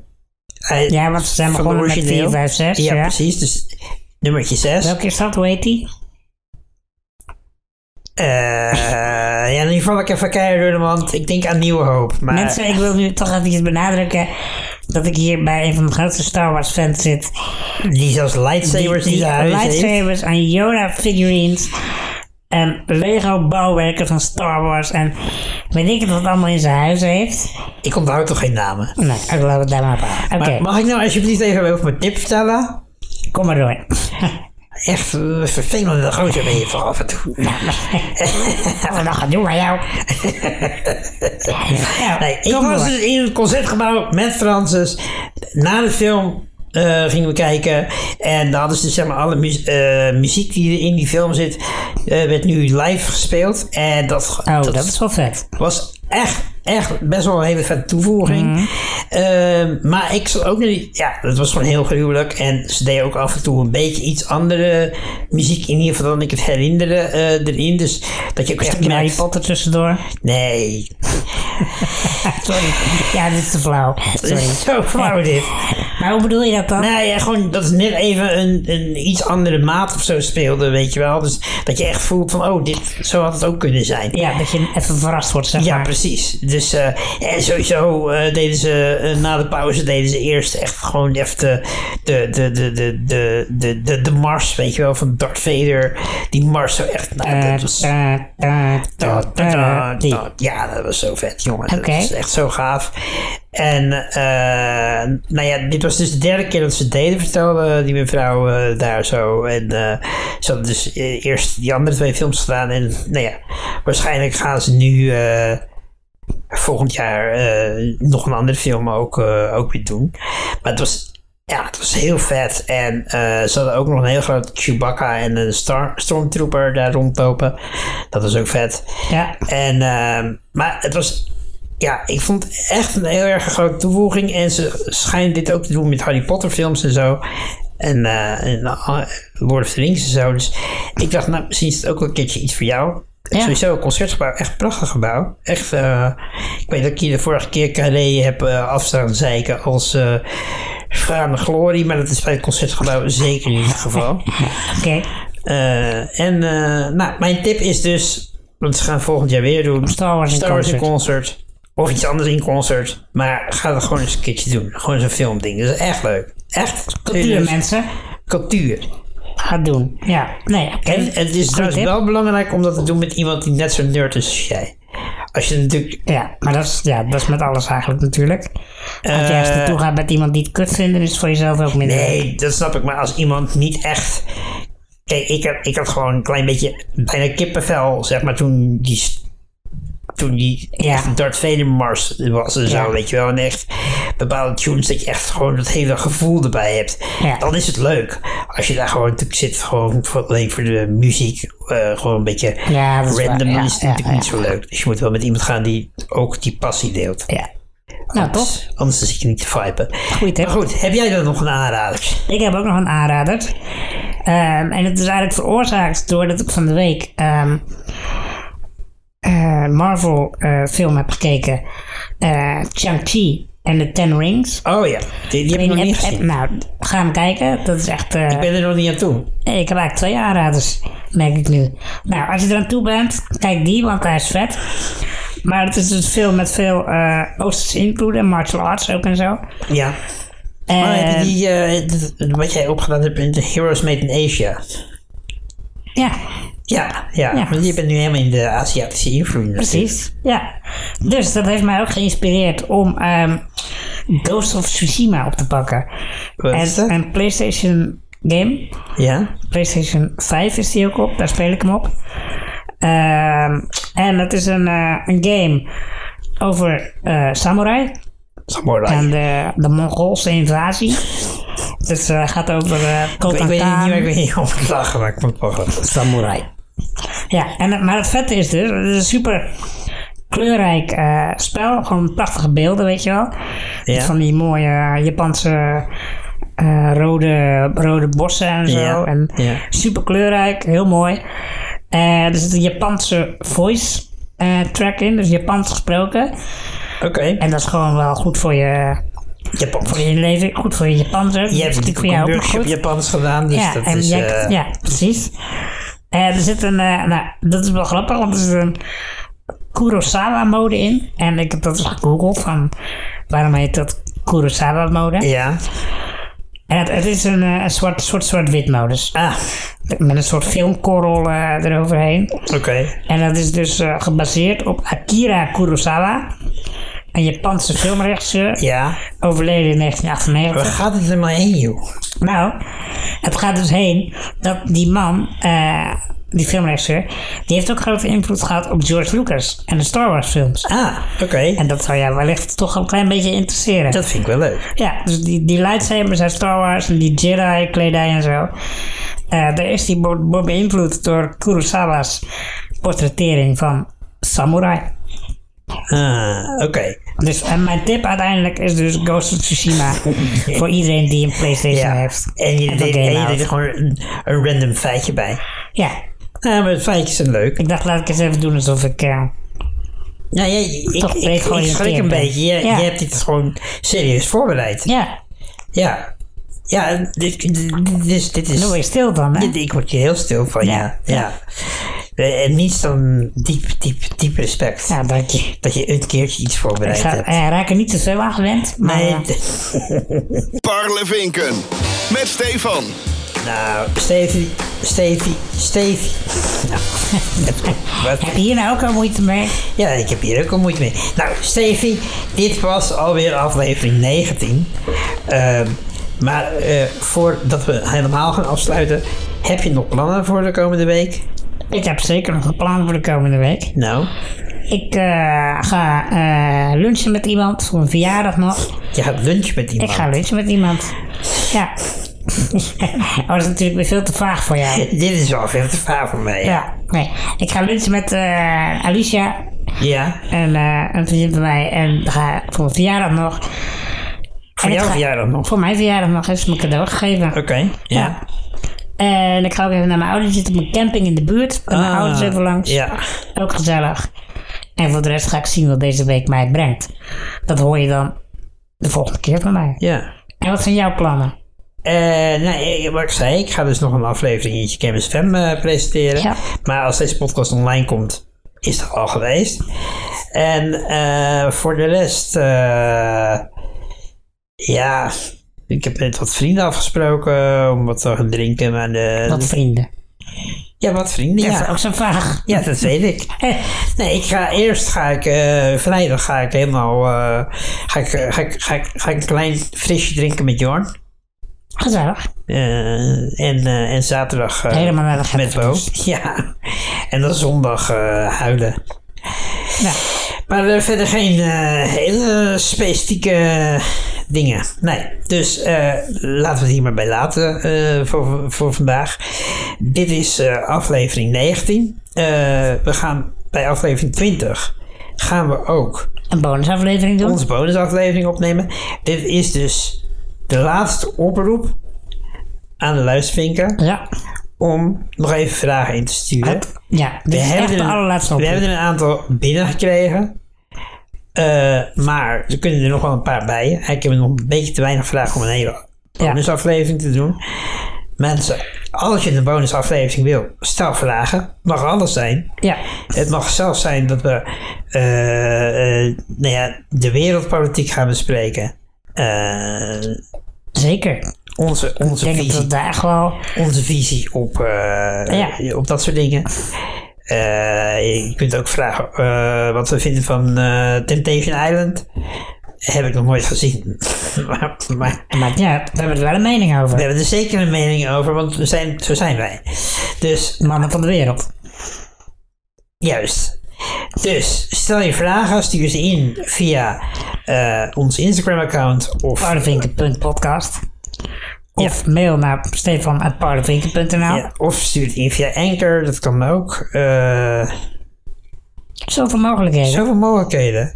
Speaker 2: Hij-
Speaker 1: ja, want ze zijn
Speaker 2: van
Speaker 1: begonnen met
Speaker 2: origineel.
Speaker 1: 4, 5, 6.
Speaker 2: Ja,
Speaker 1: Ja,
Speaker 2: precies. Dus nummertje 6.
Speaker 1: Welke is dat? Hoe heet die?
Speaker 2: Eh, ja, nu val ik even keihard door de mand. Ik denk aan Nieuwe Hoop. Maar
Speaker 1: Mensen, ik wil nu toch even benadrukken dat ik hier bij een van de grootste Star Wars fans zit.
Speaker 2: die zelfs lightsabers die,
Speaker 1: die
Speaker 2: ze huis heeft.
Speaker 1: lightsabers en Yoda figurines en Lego bouwwerken van Star Wars en weet ik het wat allemaal in zijn huis heeft.
Speaker 2: Ik onthoud toch geen namen.
Speaker 1: Nou, ik laat het daar maar op houden. Oké,
Speaker 2: Maar mag ik nou alsjeblieft even over mijn tip vertellen?
Speaker 1: kom maar door.
Speaker 2: Echt eh, vervelende gozer ben je toch af en toe.
Speaker 1: [LAUGHS] Wat we nog gaan doen bij
Speaker 2: [LAUGHS]
Speaker 1: jou. ja,
Speaker 2: Nee, ik
Speaker 1: kom
Speaker 2: was
Speaker 1: door.
Speaker 2: dus in het concertgebouw met Francis. Na de film eh, gingen we kijken. En dan hadden ze dus, zeg maar, alle mu- eh, muziek die in die film zit, eh, werd nu live gespeeld. En dat,
Speaker 1: Oh, dat is wel vet.
Speaker 2: was echt, echt best wel een hele vette toevoeging.
Speaker 1: Mhm.
Speaker 2: Ehm, maar ik zat ook naar die- Ja, dat was gewoon heel gruwelijk. En ze deden ook af en toe een beetje iets andere muziek, in ieder geval dan ik het herinnerde, eh, erin. Dus dat je ook echt
Speaker 1: Stukje Harry
Speaker 2: merkt...
Speaker 1: Potter tussendoor.
Speaker 2: Nee,
Speaker 1: Sorry. Ja, dit is te flauw.
Speaker 2: dat
Speaker 1: Sorry. [LAUGHS]
Speaker 2: [LAUGHS] is zo flauw dit.
Speaker 1: Maar hoe bedoel je dat dan?
Speaker 2: Nou ja, gewoon dat het net even een, een iets andere maat of zo speelde, weet je wel. Dus dat je echt voelt van, oh, dit, zo had het ook kunnen zijn.
Speaker 1: Ja, dat je even verrast wordt, zeg
Speaker 2: Ja,
Speaker 1: maar.
Speaker 2: precies. Dus eh, en sowieso eh, deden ze eh, na de pauze deden ze eerst echt gewoon even de, de, de, de, de, de, de, de, de mars, weet je wel, van Darth Vader. Die mars zo echt. Nou, dat was,
Speaker 1: Eh, eh, eh,
Speaker 2: da, da, da,
Speaker 1: die.
Speaker 2: da. Nou, Ja, dat was zo vet, jongen.
Speaker 1: Oké.
Speaker 2: Dat is echt zo gaaf. En eh, nou ja, dit was dus de derde keer dat ze het deden, vertelde die mevrouw eh, daar zo. En eh, ze hadden dus eh, eerst die andere twee films gedaan. En nou ja, waarschijnlijk gaan ze nu eh, volgend jaar eh, nog een andere film ook, eh, ook weer doen. Maar het was, ja, het was heel vet. En eh, ze hadden ook nog een heel groot Chewbacca en een star, Stormtrooper daar rondlopen. Dat was ook vet.
Speaker 1: Ja,
Speaker 2: En, ehm, maar het was. Ja, ik vond het echt een heel erg grote toevoeging. En ze schijnen dit ook te doen met Harry Potter films en zo. En, eh, en eh, Lord of the Rings en zo. Dus ik dacht, nou, misschien is het ook wel een keertje iets voor jou.
Speaker 1: Ja.
Speaker 2: Sowieso, concertgebouw, echt een prachtig gebouw. Echt, eh, ik weet dat ik hier de vorige keer Carré heb eh, afstaan zeiken als eh Vraande Glorie. Maar dat is bij het concertgebouw zeker niet het geval.
Speaker 1: oké.
Speaker 2: Eh, en eh, nou, mijn tip is dus, want ze gaan volgend jaar weer doen.
Speaker 1: Star Wars in
Speaker 2: in concert. Of iets anders in concert. Maar ga dat gewoon eens een keertje doen. Gewoon zo'n filmding. Dat is echt leuk. Echt
Speaker 1: Cultuur, mensen.
Speaker 2: Cultuur.
Speaker 1: Gaat doen. Ja, nee, oké.
Speaker 2: En het is trouwens
Speaker 1: tip.
Speaker 2: wel belangrijk om dat te doen met iemand die net zo nerd is als jij. Als je natuurlijk...
Speaker 1: Ja, maar dat is, ja, dat is met alles eigenlijk natuurlijk. Als je
Speaker 2: Eh,
Speaker 1: ergens naartoe gaat met iemand die het kut vindt, dan is het voor jezelf ook minder.
Speaker 2: Nee, dat snap ik. Maar als iemand niet echt... Kijk, ik had, ik had gewoon een klein beetje... Bijna kippenvel, zeg maar, toen die... s- Toen die
Speaker 1: Ja.
Speaker 2: echt Darth Vader Mars was en zo,
Speaker 1: Ja.
Speaker 2: weet je wel. En echt bepaalde tunes dat je echt gewoon dat hele gevoel erbij hebt.
Speaker 1: Ja.
Speaker 2: Dan is het leuk. Als je daar gewoon natuurlijk zit, gewoon voor, alleen voor de muziek, eh, gewoon een beetje
Speaker 1: Ja, dat is waar.
Speaker 2: random,
Speaker 1: Ja,
Speaker 2: is het
Speaker 1: ja,
Speaker 2: natuurlijk
Speaker 1: ja.
Speaker 2: niet zo leuk. Dus je moet wel met iemand gaan die ook die passie deelt.
Speaker 1: Ja. Nou, toch?
Speaker 2: Anders- Anders zit je niet te viben.
Speaker 1: Goeie tip.
Speaker 2: Maar goed, heb jij dan nog een aanrader?
Speaker 1: Ik heb ook nog een aanrader. Ehm, en het is eigenlijk veroorzaakt doordat ik van de week ehm, eh, Marvel eh, film heb gekeken. Eh Shang-Chi en de Ten Rings.
Speaker 2: Oh ja, die, die heb ik nog niet
Speaker 1: heb-
Speaker 2: gezien.
Speaker 1: heb- nou, ga hem kijken. Dat is echt... eh,
Speaker 2: Ik ben er nog niet aan toe.
Speaker 1: Hey, ik heb eigenlijk twee aanraders, merk ik nu. Nou, als je er aan toe bent, kijk die, want hij is vet. Maar het is dus veel met veel eh Oosterse invloeden, martial arts ook en zo. Ehm,
Speaker 2: Ja.
Speaker 1: En,
Speaker 2: Maar Oh, heb je die, eh, d- d- wat jij opgedaan hebt in de Heroes Made in Asia.
Speaker 1: Ja,
Speaker 2: Ja, ja.
Speaker 1: Ja.
Speaker 2: Want je bent nu helemaal in de Aziatische invloed.
Speaker 1: precies. Ja. Dus dat heeft mij ook geïnspireerd om ehm, Ghost of Tsushima op te pakken.
Speaker 2: Wat is dat?
Speaker 1: En, een PlayStation game.
Speaker 2: Ja.
Speaker 1: PlayStation 5 is die ook op, daar speel ik hem op. Ehm, en dat is een, eh, een game over eh, samurai.
Speaker 2: Samurai.
Speaker 1: En de, de Mongoolse invasie. Dus eh, gaat over eh
Speaker 2: ik, weet- ik
Speaker 1: Kotan
Speaker 2: weet niet
Speaker 1: Khan.
Speaker 2: waar ik mee om moet lachen, maar ik vond het wel grappig. Samurai.
Speaker 1: Ja, en, het- maar het vette is dus, het is een super kleurrijk eh, spel. Gewoon prachtige beelden, weet je wel. Met Van die mooie eh, Japanse eh, rode, rode bossen en zo.
Speaker 2: Ja,
Speaker 1: En
Speaker 2: ja.
Speaker 1: super kleurrijk, heel mooi. Eh, er zit een Japanse voice eh, track in, dus Japans gesproken.
Speaker 2: Oké.
Speaker 1: En dat is gewoon wel goed voor je,
Speaker 2: Japans.
Speaker 1: voor je leven, goed voor je Japans. ook.
Speaker 2: Je hebt
Speaker 1: Dat is
Speaker 2: natuurlijk een
Speaker 1: jou
Speaker 2: workshop Japans gedaan, dus
Speaker 1: ja,
Speaker 2: dat
Speaker 1: en
Speaker 2: is...
Speaker 1: jij,
Speaker 2: eh,
Speaker 1: ja, precies. Eh, er zit een, eh, nou, dat is wel grappig, want er zit een Kurosawa-mode in. En ik heb dat eens gegoogeld van waarom heet dat Kurosawa-mode.
Speaker 2: ja.
Speaker 1: En het, het is een, eh, een soort, soort, soort wit modus.
Speaker 2: Ah,
Speaker 1: eh, Met een soort filmkorrel eh, eroverheen.
Speaker 2: oké.
Speaker 1: En dat is dus eh, gebaseerd op Akira Kurosawa. Een Japanse filmregisseur,
Speaker 2: Ja.
Speaker 1: overleden in
Speaker 2: Waar
Speaker 1: 1998.
Speaker 2: gaat het helemaal heen, joh?
Speaker 1: Nou, het gaat dus heen dat die man, eh, die filmregisseur, die heeft ook grote invloed gehad op George Lucas en de Star Wars films.
Speaker 2: Ah, oké.
Speaker 1: En dat zou jou wellicht toch een klein beetje interesseren.
Speaker 2: Dat vind ik wel leuk.
Speaker 1: Ja, dus die, die lightsabers uit Star Wars en die Jedi-kledij en zo. Eh, daar is die bo- bo- beïnvloed door Kurosawa's portrettering van samurai.
Speaker 2: Ah, oké.
Speaker 1: Dus, en mijn tip uiteindelijk is dus Ghost of
Speaker 2: [LAUGHS]
Speaker 1: Tsushima voor iedereen die een Playstation
Speaker 2: Ja.
Speaker 1: heeft.
Speaker 2: En je
Speaker 1: van
Speaker 2: deed, en
Speaker 1: game
Speaker 2: je
Speaker 1: houdt.
Speaker 2: deed er gewoon een, een random feitje bij.
Speaker 1: Ja,
Speaker 2: Ja, maar feitjes zijn leuk.
Speaker 1: Ik dacht, laat ik eens even doen alsof ik. eh,
Speaker 2: Nou, jij, ik,
Speaker 1: Toch
Speaker 2: ik,
Speaker 1: ben je
Speaker 2: ik,
Speaker 1: georiënteerd
Speaker 2: schrik een
Speaker 1: bent.
Speaker 2: beetje. Je,
Speaker 1: Ja.
Speaker 2: je hebt dit gewoon serieus voorbereid.
Speaker 1: ja,
Speaker 2: Ja. Ja, dit, dit, dit is... Dit is
Speaker 1: Dan word je stil dan, hè?
Speaker 2: dit- ik word hier heel stil van, ja. ja. Eh, En niets dan diep, diep, diep respect.
Speaker 1: Ja, dank je.
Speaker 2: Dat je een keertje iets
Speaker 1: Ik
Speaker 2: voorbereid
Speaker 1: ga,
Speaker 2: hebt.
Speaker 1: eh, raak er niet te veel aan gewend. Maar,
Speaker 2: Nee,
Speaker 1: eh,
Speaker 2: d-
Speaker 4: Parlevinken met Stefan.
Speaker 2: nou, Stevie, Stevie, Stevie. [LAUGHS] Nou, wat?
Speaker 1: heb je hier nou ook al moeite mee?
Speaker 2: Ja, ik heb hier ook al moeite mee. Nou, Stevie, dit was alweer aflevering 19. Ehm, maar eh, voordat we helemaal gaan afsluiten, heb je nog plannen voor de komende week?
Speaker 1: Ik heb zeker nog een plan voor de komende week.
Speaker 2: Nou,
Speaker 1: Ik eh, ga eh, lunchen met iemand voor een verjaardag nog.
Speaker 2: je gaat lunchen met iemand.
Speaker 1: Ik ga lunchen met iemand. Ja. [LAUGHS] oh, dat is natuurlijk weer veel te vaag voor jou.
Speaker 2: Dit is wel veel te vaar voor mij.
Speaker 1: Ja, nee. Ik ga lunchen met eh, Alicia,
Speaker 2: Ja?
Speaker 1: en, eh een vriendin van mij. En ga voor mijn verjaardag nog.
Speaker 2: Voor
Speaker 1: ik
Speaker 2: jouw
Speaker 1: ga-
Speaker 2: verjaardag nog?
Speaker 1: Voor mijn verjaardag nog eens mijn cadeau gegeven.
Speaker 2: Oké, ja.
Speaker 1: En ik ga ook even naar mijn ouders zitten op een camping in de buurt. Bij mijn
Speaker 2: Ah,
Speaker 1: ouders even langs.
Speaker 2: Ja.
Speaker 1: Ook gezellig. En voor de rest ga ik zien wat deze week mij brengt. Dat hoor je dan de volgende keer van mij.
Speaker 2: ja.
Speaker 1: En wat zijn jouw plannen?
Speaker 2: Eh, nou, eh, wat ik zei, ik ga dus nog een aflevering in Campus Fem eh, presenteren.
Speaker 1: Ja.
Speaker 2: Maar als deze podcast online komt, is dat al geweest. En eh, voor de rest, eh, ja, ik heb met wat vrienden afgesproken om wat te gaan drinken. Maar de,
Speaker 1: Wat vrienden?
Speaker 2: ja, wat vrienden,
Speaker 1: Dat is
Speaker 2: Eh, ja.
Speaker 1: ook zo'n vraag.
Speaker 2: Ja, dat weet ik. Nee, ik ga eerst ga ik eh, vrijdag ga ik helemaal eh, ga, ik, eh, ga, ik, ga, ik, ga ik een klein frisje drinken met Jorn.
Speaker 1: Gezellig.
Speaker 2: Eh, en, eh, en zaterdag eh,
Speaker 1: Helemaal naar de gek
Speaker 2: met Bo. [LAUGHS] Ja. En dan zondag eh, huilen.
Speaker 1: Nou,
Speaker 2: Maar eh, verder geen eh, hele specifieke eh, dingen. Nee. Dus eh, laten we het hier maar bij laten eh, voor, voor vandaag. Dit is eh, aflevering 19. Eh, we gaan bij aflevering 20 gaan we ook
Speaker 1: een bonusaflevering doen.
Speaker 2: onze bonusaflevering opnemen. Dit is dus de laatste oproep aan de luistervinker
Speaker 1: Ja.
Speaker 2: om nog even vragen in te sturen.
Speaker 1: Ja, dit is echt de
Speaker 2: er-
Speaker 1: allerlaatste
Speaker 2: we
Speaker 1: oproep.
Speaker 2: hebben er een aantal binnengekregen. Eh maar er kunnen er nog wel een paar bij. Eigenlijk hebben we nog een beetje te weinig vragen om een hele bonusaflevering te doen. Mensen, als je een bonusaflevering wil, stel vragen. Mag alles zijn.
Speaker 1: Ja.
Speaker 2: Het mag zelfs zijn dat we eh, eh, nou ja, de wereldpolitiek gaan bespreken. Eh,
Speaker 1: Zeker.
Speaker 2: onze, onze,
Speaker 1: Ik denk dat
Speaker 2: visie,
Speaker 1: we daar echt wel.
Speaker 2: onze visie op, eh,
Speaker 1: Ja.
Speaker 2: op dat soort dingen. Eh, je kunt ook vragen eh, wat we vinden van eh, Temptation Island. Heb ik nog nooit gezien. [LAUGHS] maar, maar
Speaker 1: Maar ja, we hebben er wel een mening
Speaker 2: we
Speaker 1: over.
Speaker 2: hebben er zeker een mening over, want we zijn, zo zijn wij. Dus
Speaker 1: Mannen van de wereld.
Speaker 2: Juist. Dus stel je vragen, stuur ze dus in via eh, ons Instagram-account of
Speaker 1: Oh, Paardenvinken.podcast. Of mail naar stefan.paardenvinken.nl.
Speaker 2: ja, of stuur het in via Anchor, dat kan ook. Eh,
Speaker 1: Zoveel mogelijkheden.
Speaker 2: zoveel mogelijkheden.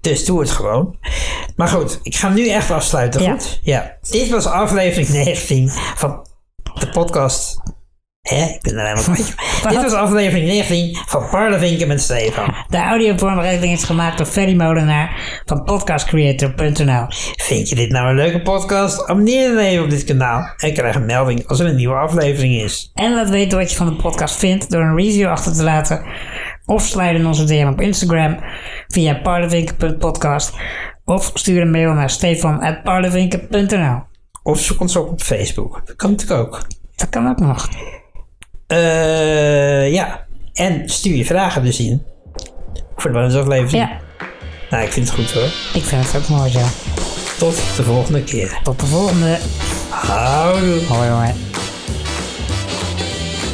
Speaker 2: Dus doe het gewoon. Maar goed, ik ga nu echt afsluiten.
Speaker 1: Ja.
Speaker 2: Goed? Ja. Dit was aflevering 19 van de podcast. Hè? Ik ben er helemaal kwijt. Dit was aflevering 19 van Parlevinken met Stefan.
Speaker 1: De audiovormgeving is gemaakt door Ferry Molenaar van podcastcreator.nl.
Speaker 2: Vind je dit nou een leuke podcast? Abonneer dan even op dit kanaal en krijg een melding als er een nieuwe aflevering is.
Speaker 1: En laat weten wat je van de podcast vindt door een review achter te laten. Of slide in onze DM op Instagram via paardenvinken.podcast. Of stuur een mail naar stefan.paardenvinken.nl.
Speaker 2: Of zoek ons op op Facebook. Dat kan natuurlijk ook.
Speaker 1: Dat kan ook nog.
Speaker 2: Eh, ja, en stuur je vragen dus in. Voor de bonusaflevering.
Speaker 1: Ja,
Speaker 2: Nou, ik vind het goed hoor.
Speaker 1: ik vind het ook mooi zo.
Speaker 2: Tot de volgende keer.
Speaker 1: Tot de volgende.
Speaker 2: Houdoe.
Speaker 1: Hoi hoi.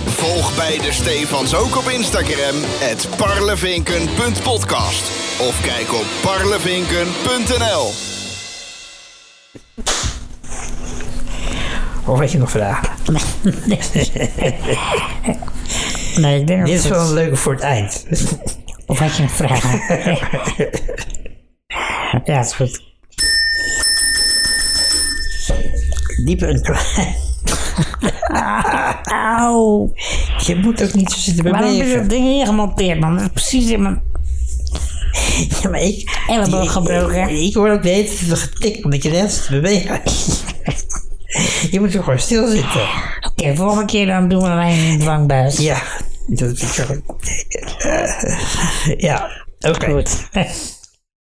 Speaker 4: Volg beide Stefans ook op Instagram, het parlevinken.podcast. Of kijk op parlevinken.nl.
Speaker 2: Of had je nog vragen?
Speaker 1: Nee, ik denk dat
Speaker 2: Dit is
Speaker 1: het-
Speaker 2: wel een leuke voor het eind.
Speaker 1: Of had je een vraag? [LAUGHS] ja, is goed.
Speaker 2: Diep en klein. [LAUGHS]
Speaker 1: Auw.
Speaker 2: Je moet ook niet zo zitten
Speaker 1: Waarom heb je dat
Speaker 2: bewegen.
Speaker 1: ding hier gemonteerd, man? Dat is precies in mijn...
Speaker 2: [LAUGHS] Ja, maar ik...
Speaker 1: Elleboog
Speaker 2: ik-
Speaker 1: gebroken.
Speaker 2: Ik, ik word ook de hele tijd getikt omdat je de hele tijd beweegt. [LAUGHS] je moet gewoon stilzitten.
Speaker 1: Oké, volgende keer dan doen we alleen in de dwangbuis.
Speaker 2: Ja, dat is... eh, ja, oké.
Speaker 1: Goed.